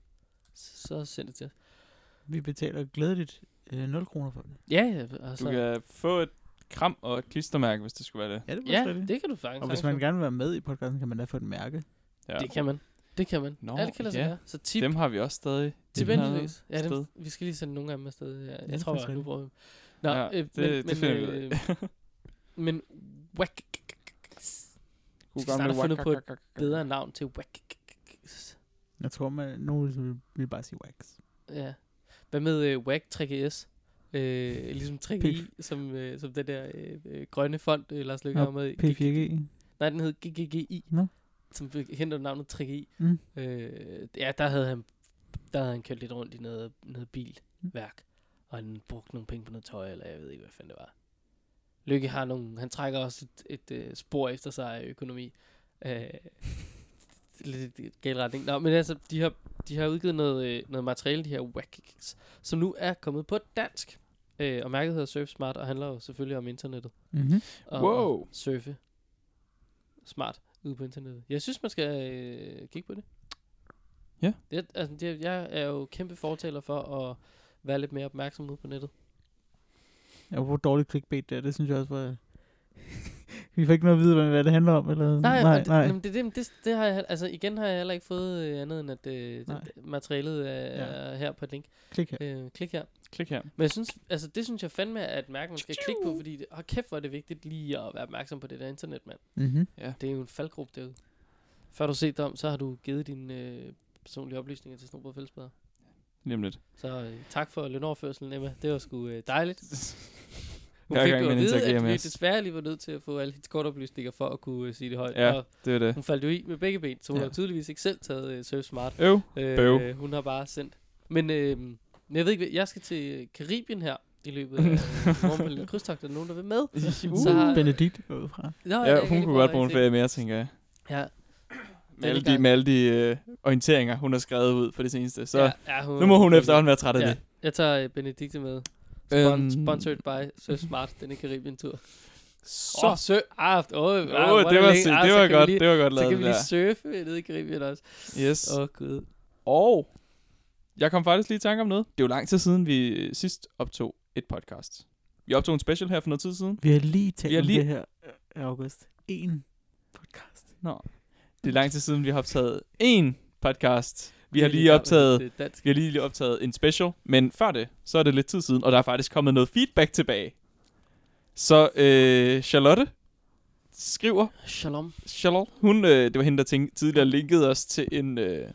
S1: s- så send det til os.
S2: Vi betaler glædeligt øh, 0 kroner for det.
S1: Ja, ja, og
S3: Du
S1: så,
S3: kan få et kram og et klistermærke, hvis det skulle være det.
S2: Ja, det var
S1: ja, det kan du faktisk.
S2: Og hvis man gerne vil være med i podcasten, kan man da få et mærke.
S3: Ja.
S1: Det kan man. Det kan man.
S3: Nå,
S1: Nå, Alt kan lade sig
S3: ja.
S1: gøre. Så tip,
S3: Dem har vi også stadig.
S1: tip
S3: et eller andet
S1: endeløs. Ja,
S3: sted.
S1: dem, vi skal lige sende nogle af dem afsted. Ja, jeg
S2: det er
S1: tror,
S2: faktisk
S1: jeg nu bruger dem. Nå,
S3: Ja,
S1: ja, øh,
S3: det- det
S1: men,
S3: finder vi ud
S1: men, øh, men whack,
S3: God
S1: Skal
S3: gamle
S1: snart have fundet
S3: wak-
S1: på et
S3: wak- wak- wak-
S1: bedre navn til whack.
S2: Jeg tror, man, nogen vil, vil bare sige wax.
S1: Ja. Hvad med øh, WAG 3GS? Øh, ligesom 3GI, som, øh, som den der øh, øh, grønne fond, øh, Lars Løkke
S2: Nå,
S1: har med. i.
S2: P4G.
S1: Nej, den hed GGGI,
S2: Nå.
S1: som fik- henter navnet 3GI.
S2: Mm.
S1: Øh, ja, der havde han der havde han kørt lidt rundt i noget, noget bilværk, og han brugte nogle penge på noget tøj, eller jeg ved ikke, hvad fanden det var. Lykke har nogle, han trækker også et, et, øh, spor efter sig af økonomi. Øh, lidt i gal retning. Nå, men altså, de har, de har udgivet noget, øh, noget materiale, de her Wackix, som nu er kommet på dansk. Øh, og mærket hedder Surf Smart, og handler jo selvfølgelig om internettet.
S2: Mm-hmm.
S1: Og,
S3: Wow.
S1: og surfe smart ude på internettet. Jeg synes, man skal øh, kigge på det.
S3: Ja.
S1: Det, altså, det, jeg er jo kæmpe fortaler for at være lidt mere opmærksom ude på nettet.
S2: Jeg var dårlig clickbait der, det synes jeg også var... vi får ikke noget at vide, hvad, hvad det handler om, eller...
S1: Nej,
S2: nej,
S1: og det,
S2: nej.
S1: jamen, Det, det, det, det har jeg, altså igen har jeg heller ikke fået øh, andet end, at øh, det-
S2: Nej.
S1: det, materialet er,
S2: Ja.
S1: ja. er her på et link.
S2: Klik her.
S1: Øh, klik her.
S3: Klik her.
S1: Men jeg synes, altså, det synes jeg fandme er et mærke, man skal klikke på, fordi det, oh, kæft, hvor er det vigtigt lige at være opmærksom på det der internet, mand.
S2: Mm-hmm.
S1: Det er jo en faldgruppe derude. Før du har set dig om, så har du givet dine øh, personlige oplysninger til Snobrød Fællesbader.
S3: Nemlig.
S1: Så øh, tak for lønoverførselen, Emma. Det var sgu øh, dejligt. Hun
S3: Hver
S1: fik
S3: gang
S1: jo at
S3: man
S1: vide,
S3: interagerer
S1: at
S3: med
S1: vi
S3: os.
S1: desværre lige var nødt til at få alle hendes kortoplysninger for at kunne øh, sige det højt.
S3: Ja.
S1: Og
S3: Det er det.
S1: hun faldt jo i med begge ben, så hun
S2: Ja.
S1: ja. har tydeligvis ikke selv taget øh, Surf Smart.
S3: Øv. Bøv.
S1: Øh, hun har bare sendt. Men øh, men jeg ved ikke, hvad- jeg skal til Karibien her i løbet af øh, morgen på Lille Krydstogt. Er der nogen, der vil med?
S2: Uh,
S1: Så har-
S2: Benedikt går ud fra.
S1: Nå,
S3: Ja,
S1: jeg kan
S3: hun
S1: lige
S3: kunne godt bruge en
S1: rigtig-
S3: ferie mere, tænker jeg.
S1: Ja,
S3: Med alle
S1: Denne
S3: de,
S1: gang.
S3: med alle de øh, orienteringer, hun har skrevet ud på det seneste. Så
S1: ja, ja, hun,
S3: nu må hun efterhånden være træt af
S1: Ja,
S3: det.
S1: jeg tager øh, Benedikte med. Spon-
S3: Øhm.
S1: Sponsored by Surf Smart, denne Karibien-tur.
S3: Så.
S1: Så oh, sø... Ah, oh, oh,
S3: Åh, oh, det var, se- det var godt, det var godt
S1: Så kan
S3: lavet, det
S1: vi
S3: der.
S1: lige surfe nede i Karibien også.
S3: Yes.
S1: Åh, oh, gud.
S3: Og jeg kom faktisk lige i tanke om noget. Det er jo lang tid siden, vi øh, sidst optog et podcast. Vi optog en special her for noget tid siden.
S2: Vi har lige talt
S3: Vi har
S2: om
S3: lige-
S2: det her i august. En podcast.
S3: Nå. Det er lang tid siden, vi har optaget én podcast. Vi har
S1: Det er
S3: lige
S1: der,
S3: optaget,
S1: hvor det er dansk.
S3: vi har lige optaget en special, men før det, så er det lidt tid siden, og der er faktisk kommet noget feedback tilbage. Så øh, Charlotte skriver,
S1: Shalom.
S3: Charlotte, hun, øh, det var hende, der tænkte, tidligere linkede os til en øh,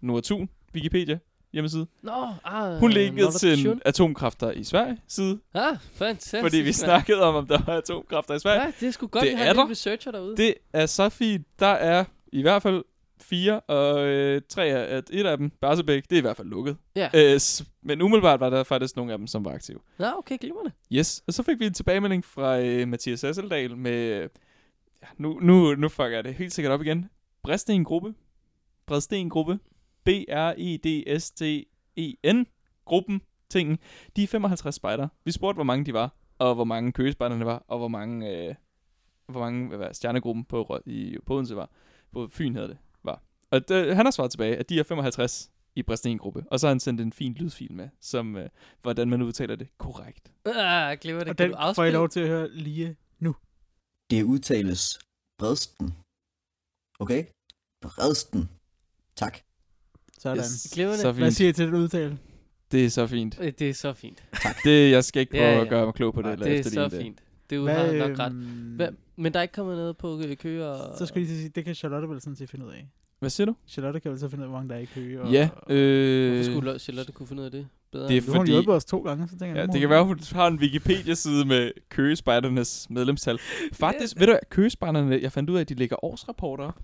S3: Nordatun Wikipedia hjemmeside.
S1: Nå, ah,
S3: Hun linkede
S1: Nordic
S3: til en
S1: Tune.
S3: atomkræfter i Sverige side,
S1: Ah, fantastisk.
S3: Fordi vi
S1: mand.
S3: snakkede om, om der var atomkræfter i Sverige.
S1: Ja, det er sgu godt,
S3: Det
S1: vi
S3: er
S1: har
S3: der.
S1: en researcher derude.
S3: Det er så fint. Der er i hvert fald fire, og øh, tre af, at et af dem, Barsebæk, det er i hvert fald lukket.
S1: Ja.
S3: Øh, s- men umiddelbart var der faktisk nogle af dem, som var aktive.
S1: Nå, okay, glimrende.
S3: Yes, og så fik vi en tilbagemelding fra øh, Mathias Sasseldal med... øh, Ja, nu, nu, nu fucker jeg det helt sikkert op igen. Bredsten Gruppe. Bredsten Gruppe. E B-R-E-D-S-T-E-N. E Gruppen. Tingen. De er 55 spejder. Vi spurgte, hvor mange de var, og hvor mange køgespejderne var, og hvor mange, øh, hvor mange hvad var, det, stjernegruppen på, Rø- i, på Odense var. På Fyn hedder det. Var. Og det, han har svaret tilbage, at de er 55. i Bræstengruppe. Og så har han sendt en fin lydfil med, som, øh, hvordan man udtaler det korrekt.
S1: Ah, glemmer det.
S2: Og
S1: Kan
S2: den
S1: du
S2: får I
S1: afspille?
S2: lov til at høre lige nu.
S4: Det udtales Bredsten. Okay? Bredsten. Tak.
S2: Sådan.
S3: Yes.
S1: Glimrende.
S3: Så
S2: Hvad
S3: fint.
S2: siger I til den udtale?
S3: Det er så fint.
S1: Øh, Det er så fint.
S3: Det, jeg skal ikke
S1: Ja,
S3: prøve ja, ja.
S1: ja.
S3: at gøre mig klog på det. eller
S1: Ah, Det er
S3: efterligne
S1: så
S3: det.
S1: fint. Du har nok ret.
S2: øhm,
S1: Hva? Men der er ikke kommet noget på øh, køer og...
S2: Så skal jeg lige til at sige, det kan Charlotte vel sådan set finde ud af.
S3: Hvad siger du?
S2: Charlotte kan vel så finde ud af, hvor mange der er i kø. Og,
S3: Ja,
S2: og,
S1: Hvorfor
S3: øh,
S1: skulle Lo- Charlotte kunne finde ud af det bedre?
S3: det er
S1: end-
S2: nu har hun
S3: fordi-
S2: hjulpet os to gange, så tænker jeg,
S3: ja,
S2: nu må
S3: det
S2: hun-
S3: kan være, hun har en Wikipedia-side med køgespejdernes medlemstal. Faktisk, ved du hvad, køgespejderne, jeg fandt ud af, at de lægger årsrapporter. op.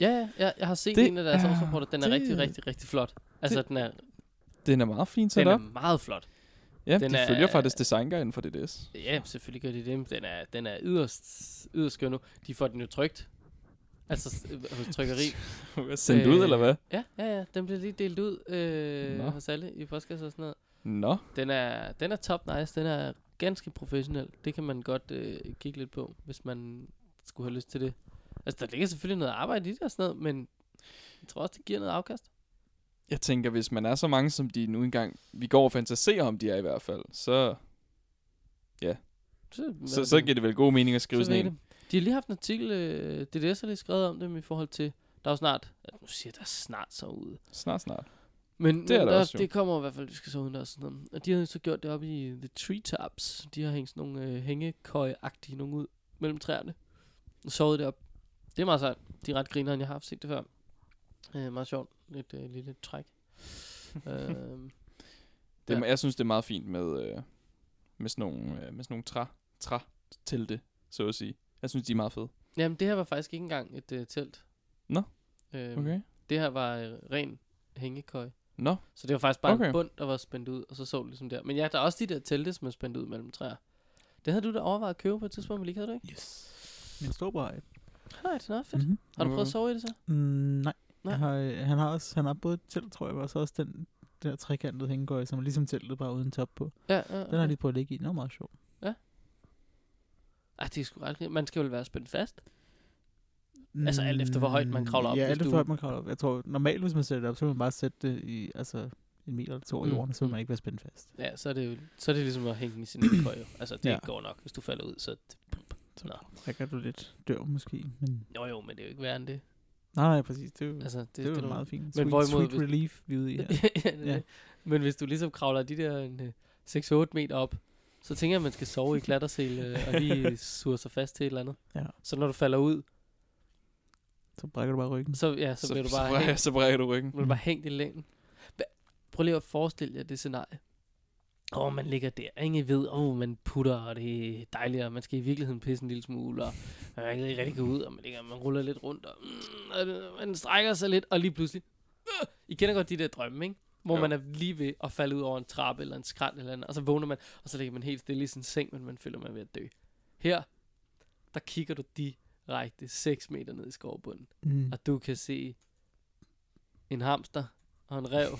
S1: Ja, ja, jeg, jeg har set
S3: Det
S1: en af deres
S3: er-
S1: årsrapporter. Den er
S3: det-
S1: rigtig, rigtig, rigtig flot. Altså, den er,
S3: Den er meget fint sat
S1: den er
S3: op.
S1: meget flot.
S3: Ja,
S1: den
S3: de
S1: er-
S3: følger faktisk designguiden for DDS.
S1: Ja, selvfølgelig gør de det. Den er, den er yderst, yderst skør nu. De får den jo trygt. Altså, s- øh, hos trykkeri.
S3: Sendt ud,
S1: Øh,
S3: eller hvad?
S1: Ja, ja, ja. Den blev lige delt ud øh,
S3: Nå.
S1: hos alle i podcast og sådan noget.
S3: Nå,
S1: Den er, den er top nice. Den er ganske professionel. Det kan man godt øh, kigge lidt på, hvis man skulle have lyst til det. Altså, der ligger selvfølgelig noget arbejde i det og sådan noget, men jeg tror også, det giver noget afkast.
S3: jeg tænker, hvis man er så mange, som de nu engang, vi går og fantaserer om, de er i hvert fald, så,
S1: Så,
S3: så, så giver det vel god mening at skrive
S1: Så ved
S3: sådan
S1: I
S3: en.
S1: det. De har lige haft en artikel, øh, DDS har lige skrevet om dem i forhold til, der er jo snart, altså, nu siger jeg, der er snart så ude.
S3: Snart, snart.
S1: Men
S3: er
S1: men
S3: der
S1: der,
S3: også, jo.
S1: det kommer i hvert fald, vi skal så uden og sådan noget. Og de har så gjort det op i The Treetops. De har hængt sådan nogle øh, hængekøje-agtige nogle ud mellem træerne. Og sovet det op. Det er meget sejt. De er ret grineren, jeg har haft set det før. Øh, meget sjovt. Lidt øh, lille træk. øh,
S3: Det, er-
S1: Ja.
S3: Jeg synes, det er meget fint med, øh, med sådan nogle, øh, med sådan nogle træ, træ til det, så at sige. Jeg synes, de er meget fede.
S1: jamen, det her var faktisk ikke engang et øh, telt.
S3: Nå.
S1: Øh,
S3: Okay.
S1: Det her var øh, ren hængekøje.
S3: Nå,
S1: Så det var faktisk bare okay.
S3: Okay.
S1: en bund, der var spændt ud, og så så det ligesom der. Men ja, der er også de der telte, som er spændt ud mellem træer. Det havde du da overvejet at købe på et tidspunkt, men lige havde du ikke?
S2: Yes. Min storebror har et.
S1: Nej, det er nok fedt.
S2: Mm-hmm.
S1: Har du prøvet
S3: Hvorfor?
S1: at sove i det så?
S2: Mm, nej.
S1: Nej.
S2: Jeg Har, øh, han har også, han har både et telt, tror jeg, og så også den den der trekantede hængekøje, som er ligesom teltet, bare uden top på. Okay.
S1: Ja, ja.
S2: Den har
S1: okay.
S2: jeg lige prøvet at ligge i. Den er meget sjov.
S1: Ej, det er sgu ret grineren. Man skal vel være spændt fast. Altså, alt efter, hvor højt man kravler op,
S2: Mm, Ja,
S1: hvis
S2: alt efter,
S1: du-
S2: hvor højt man kravler op. Jeg tror, normalt, hvis man sætter det op, så vil man bare sætte det i, altså, en meter eller to over
S1: Mm,
S2: jorden, så vil
S1: mm.
S2: man ikke være spændt fast.
S1: Ja, så er det jo så er det ligesom at hænge i sin egen køje. Altså, det
S2: Ja.
S1: ja. går nok, hvis du falder ud. Så
S2: Så
S1: Nå.
S2: rækker du lidt dør måske, men...
S1: jo jo, men det er jo ikke værre end det.
S2: Nej, nej, præcis. Det er jo, altså,
S1: Altså, det,
S2: det, det, er
S1: du-
S2: jo meget fint. Men sweet,
S1: Men hvorimod,
S2: sweet
S1: hvis-
S2: relief, vi er ude i
S1: ja.
S2: her.
S1: ja, det er
S2: Ja.
S1: det. Men hvis du ligesom kravler de der en, øh, 6-8 meter op, så tænker jeg, at man skal sove i klattersel øh, og lige sure sig fast til et eller andet.
S2: Ja.
S1: Så når du falder ud,
S2: Så brækker du bare ryggen.
S1: så, ja, så, så bliver du bare
S3: så, brækker,
S1: hængt,
S3: så brækker du ryggen.
S1: bliver du bare hængt i længden. Hva- Prøv lige at forestille jer det scenarie. Åh, oh, man ligger der, ikke? I ved, åh, oh, man putter, og det er dejligt, og man skal i virkeligheden pisse en lille smule, og man kan ikke rigtig gå ud, og man, ligger, man ruller lidt rundt, og, mm, og det- man strækker sig lidt, og lige pludselig... Øh, I kender godt de der drømme, ikke? Hvor
S3: Jo.
S1: jo. man er lige ved at falde ud over en trappe eller en skrant eller andet, og så vågner man, og så ligger man helt stille i sin seng, men man føler, man er ved at dø. Her, der kigger du direkte 6 meter ned i skovbunden
S2: Mm.
S1: og du kan se en hamster og en rev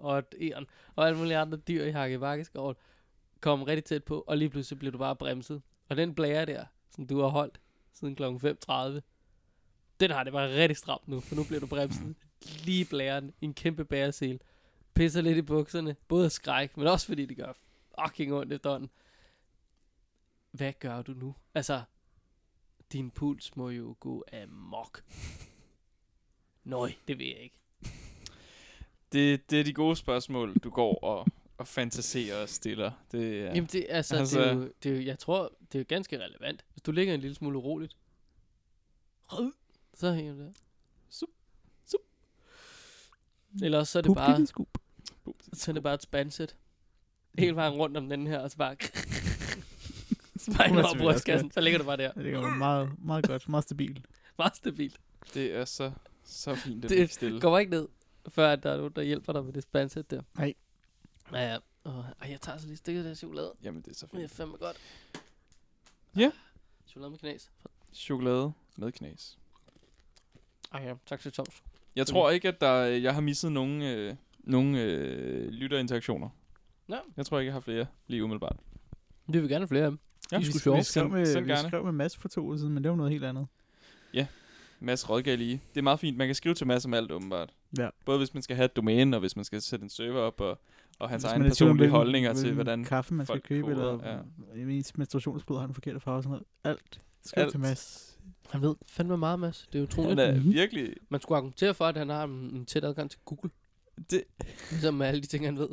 S1: og et æren og alle mulige andre dyr i hakkebakkeskoven komme rigtig tæt på, og lige pludselig bliver du bare bremset. Og den blære der, som du har holdt siden kl. 5.30, den har det bare rigtig stramt nu, for nu bliver du bremset lige i blæren i en kæmpe bæresel. Pisser lidt i bukserne, både af skræk, men også fordi det gør fucking ondt efterhånden. Hvad gør du nu? Altså, din puls må jo gå amok. Nøj, det ved jeg ikke.
S3: Det, det er de gode spørgsmål, du går og, og fantaserer og stiller. Det,
S1: Ja.
S3: er-
S1: Jamen, det, altså, altså...
S3: Altså-
S1: Det, er jo, det er jo, jeg tror, det er jo ganske relevant. Hvis du ligger en lille smule uroligt, Rød, så hænger du der. Sup, sup. Eller også så er
S2: Mm.
S1: det bare,
S2: Scoop.
S1: så er det bare et spansæt. Hele vejen rundt om den her, og så bare... så bare ind over
S2: selvfølgelig også
S1: brystkassen, så ligger du bare der.
S2: Ja, det går meget, meget godt, meget stabilt.
S1: Meget stabilt.
S3: det er så, så fint, at
S1: Det
S3: det er stille.
S1: Kommer ikke ned, før at der er nogen, der hjælper dig med det spansæt der.
S2: Nej.
S1: Ja, ja. Og, og jeg tager så lige stikket af chokolade.
S3: Jamen, det er så
S1: Det er
S3: fint.
S1: fandme godt.
S3: Ja.
S1: Chokolade med knas.
S3: Chokolade med knas.
S1: Ej ja, tak til Toms.
S3: Jeg tror ikke, at der, jeg har misset nogen, øh, nogen øh, lytterinteraktioner.
S1: Nå.
S3: Jeg tror ikke, jeg har flere lige umiddelbart.
S1: Vi vil gerne have flere af dem.
S3: Ja,
S1: De er sgu
S2: Vi
S1: sjove.
S2: skrev
S3: Send-
S2: med,
S3: send
S2: vi
S3: gerne.
S2: skrev med Mads for to år siden, men det var noget helt andet.
S3: Mads rådgav lige. Det er meget fint. Man kan skrive til Mads om alt, åbenbart.
S2: Ja.
S3: Både hvis man skal have et domæne, og hvis man skal sætte en server op, og, og hans
S2: Hvis
S3: egne
S2: man er i tvivl om,
S3: personlige
S2: hvilken-
S3: holdninger til,
S2: hvilken
S3: hvordan...
S2: kaffe man skal
S3: folk
S2: købe,
S3: koder,
S2: eller
S3: ja.
S2: ja. ens menstruationsblod har den forkerte farve og sådan noget. Alt. Skriv
S3: Alt.
S2: til Mads.
S1: Han ved fandme meget, Mads. Det er
S3: Han
S1: utroligt.
S3: er
S2: Mhm.
S3: virkelig...
S1: Man skulle argumentere for, at han har en en tæt adgang til Google.
S3: Det,
S1: Ligesom med alle de ting, han ved.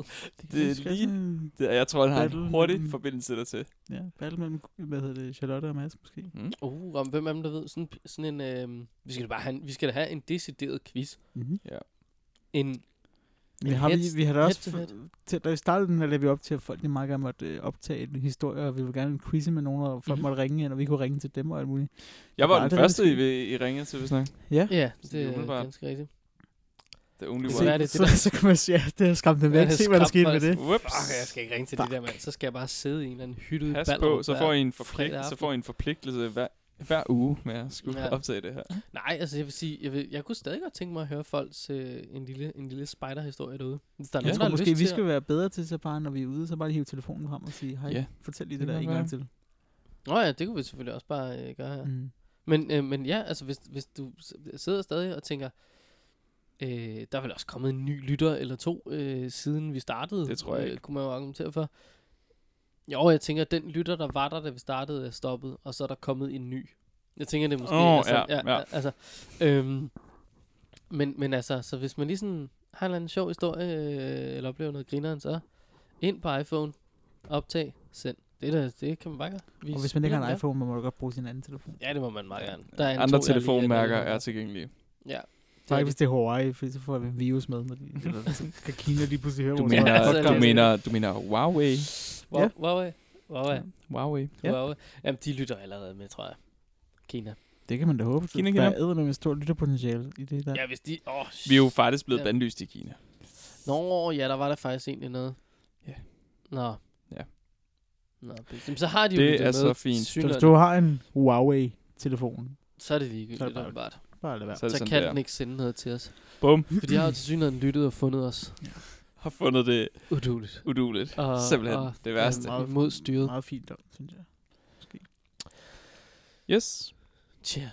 S3: Det er
S2: skal
S3: lige-
S2: sådan en-
S3: det, jeg tror, han har en
S2: Battle
S3: hurtig
S2: mellem-
S3: forbindelse dertil.
S2: Ja, battle mellem, hvad hedder det, Charlotte og Mads måske.
S3: Mm.
S1: Uh, om hvem er dem, der ved? Sådan, sådan en, øh, vi, skal da bare have, en- vi skal da have en decideret quiz.
S2: Mm-hmm.
S1: En,
S2: Men
S1: En
S2: har vi,
S1: heads-
S2: vi har da også,
S1: head-to-head.
S2: f- til, da vi startede den her, lavede vi op til, at folk de meget gerne måtte øh, optage en historie, og vi ville gerne quizze med nogen, og folk
S1: Mhm.
S2: mm-hmm. måtte ringe ind, og vi kunne ringe til dem og alt muligt.
S3: Jeg var
S2: Nej,
S3: den
S2: det er
S3: første,
S2: måske-
S3: I, vil- I ringede til, hvis nok.
S2: Ja,
S1: ja,
S3: Det
S1: det,
S3: er
S1: er
S3: umiddelbart.
S1: ganske rigtigt.
S3: The only
S1: Det
S2: så,
S1: kan
S3: one.
S1: være, det er
S2: så,
S1: det,
S2: så, kan man sige, ja, det har skræmt dem
S1: Ja,
S2: væk.
S1: det har
S2: Se, hvad der
S1: skræmt
S2: skete med
S1: folk.
S2: det.
S3: Whoops.
S1: Fuck, jeg skal ikke ringe til det der, mand. Så skal jeg bare sidde i en eller anden hytte
S3: Pas på, så får, I en forpligt, så får
S1: I...
S3: I en forpligtelse hver, hver uge med at skulle ja.
S1: Ja.
S3: optage det her.
S1: Nej, altså jeg vil sige, jeg, vil, jeg kunne stadig godt tænke mig at høre folks øh, en lille, en lille spider-historie derude. Hvis der er
S3: Ja.
S1: nogen,
S2: Jeg
S1: der
S2: tror
S1: har
S2: måske,
S1: lyst
S2: vi
S1: til
S2: skal være bedre til så bare, når vi er ude, så bare lige hive telefonen frem og sige, hej,
S3: Ja.
S2: fortæl lige det,
S3: Det
S2: der
S3: kan
S2: en gang
S3: være.
S2: til.
S1: at... Nå ja, det kunne vi selvfølgelig også bare øh, gøre her. Mm.
S2: Mm.
S1: Men, øh, men ja, altså hvis, hvis du s- sidder stadig og tænker, øh, der er vel også kommet en ny lytter eller to, øh, siden vi startede.
S3: Det tror jeg ikke.
S1: Øh, kunne man jo argumentere for. Jo, jeg tænker, at den lytter, der var der, da vi startede, er stoppet, og så er der kommet en ny. Jeg tænker, det er måske...
S3: Åh,
S1: altså,
S3: ja, ja.
S1: Altså, øhm, men, men altså, så hvis man lige sådan har en eller anden sjov historie, øh, eller oplever noget grineren, så ind på iPhone, optag, send. Det, der, det kan man bare gøre. Vi
S2: Og hvis man ikke
S1: spiller
S2: har en
S1: den
S2: iPhone, må man jo godt bruge sin anden telefon.
S1: der. Ja, det må man meget gerne.
S3: Der
S1: en
S3: Andre
S1: to, jeg lige
S3: telefonmærker
S1: kan-
S3: er tilgængelige.
S1: Ja.
S2: Det er ikke, hvis det er Hawaii, for så får vi en virus med, når de, eller, så kan Kina lige pludselig høre
S3: Du
S2: vores
S3: mener,
S1: altså,
S3: du
S1: det-
S3: mener, du mener Huawei?
S1: Wow,
S2: Ja.
S1: ja. Huawei. Huawei.
S3: Huawei.
S2: Ja.
S1: Ja. Huawei. Jamen, de lytter allerede med, tror jeg. Kina.
S2: Det kan man da håbe.
S3: Kina,
S2: Kina,
S3: Kina.
S2: Kina. Der er med et stort lytterpotentiale i det der.
S1: Ja, hvis de... Åh, oh,
S3: Vi er jo faktisk blevet
S1: Ja.
S3: bandlyst i Kina.
S1: Nå, ja, der var der faktisk egentlig noget.
S3: Ja.
S1: Nå.
S3: Ja.
S1: Nå, det- jamen, så har de jo
S3: Det
S1: lyttet
S3: er
S1: med,
S3: så fint.
S2: Så
S1: tilsyneladende.
S2: hvis du har en Huawei-telefon,
S1: Så er det
S2: Så er
S1: ligegyldigt,
S2: det bare-
S1: det bare.
S2: bare lad være.
S3: Så er
S1: Så
S3: det sådan
S1: kan
S3: der.
S1: den ikke sende noget til os.
S3: Bum.
S1: For de har jo til synligheden lyttet og fundet os.
S3: Har fundet det
S1: Uduligt.
S3: uduligt.
S1: Og,
S3: Simpelthen
S1: og,
S3: det værste.
S1: ja, meget- imod styret.
S2: Meget fint dom, synes jeg. Måske.
S3: Yes.
S1: Tja.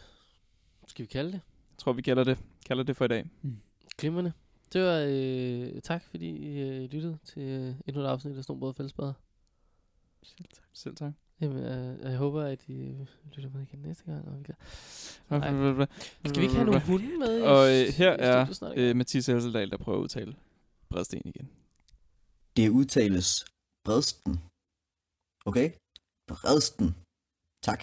S1: Skal vi kalde det?
S3: Jeg tror, vi kalder det, kalder det for i dag.
S1: Glimrende. Det var øh, tak, fordi I øh, lyttede til øh, endnu et afsnit af Snobrød og Fællesbader.
S3: Selv tak.
S1: Jamen, øh, jeg håber, at I øh, lytter med igen næste gang. Og vi kan... Nej.
S3: Skal
S1: Skal vi ikke have nogle hunde med? i-
S3: Mm. Og øh, her
S1: i
S3: er
S1: studiet snart, ikke?
S3: øh, Mathias Hesseldal, der prøver at udtale Bredsten igen.
S4: Det udtales Bredsten. Okay? Bredsten. Tak.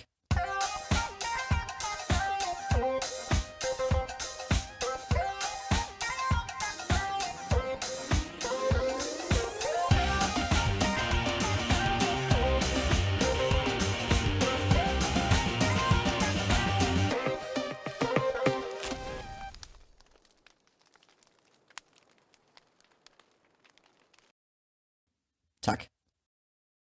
S4: Tak.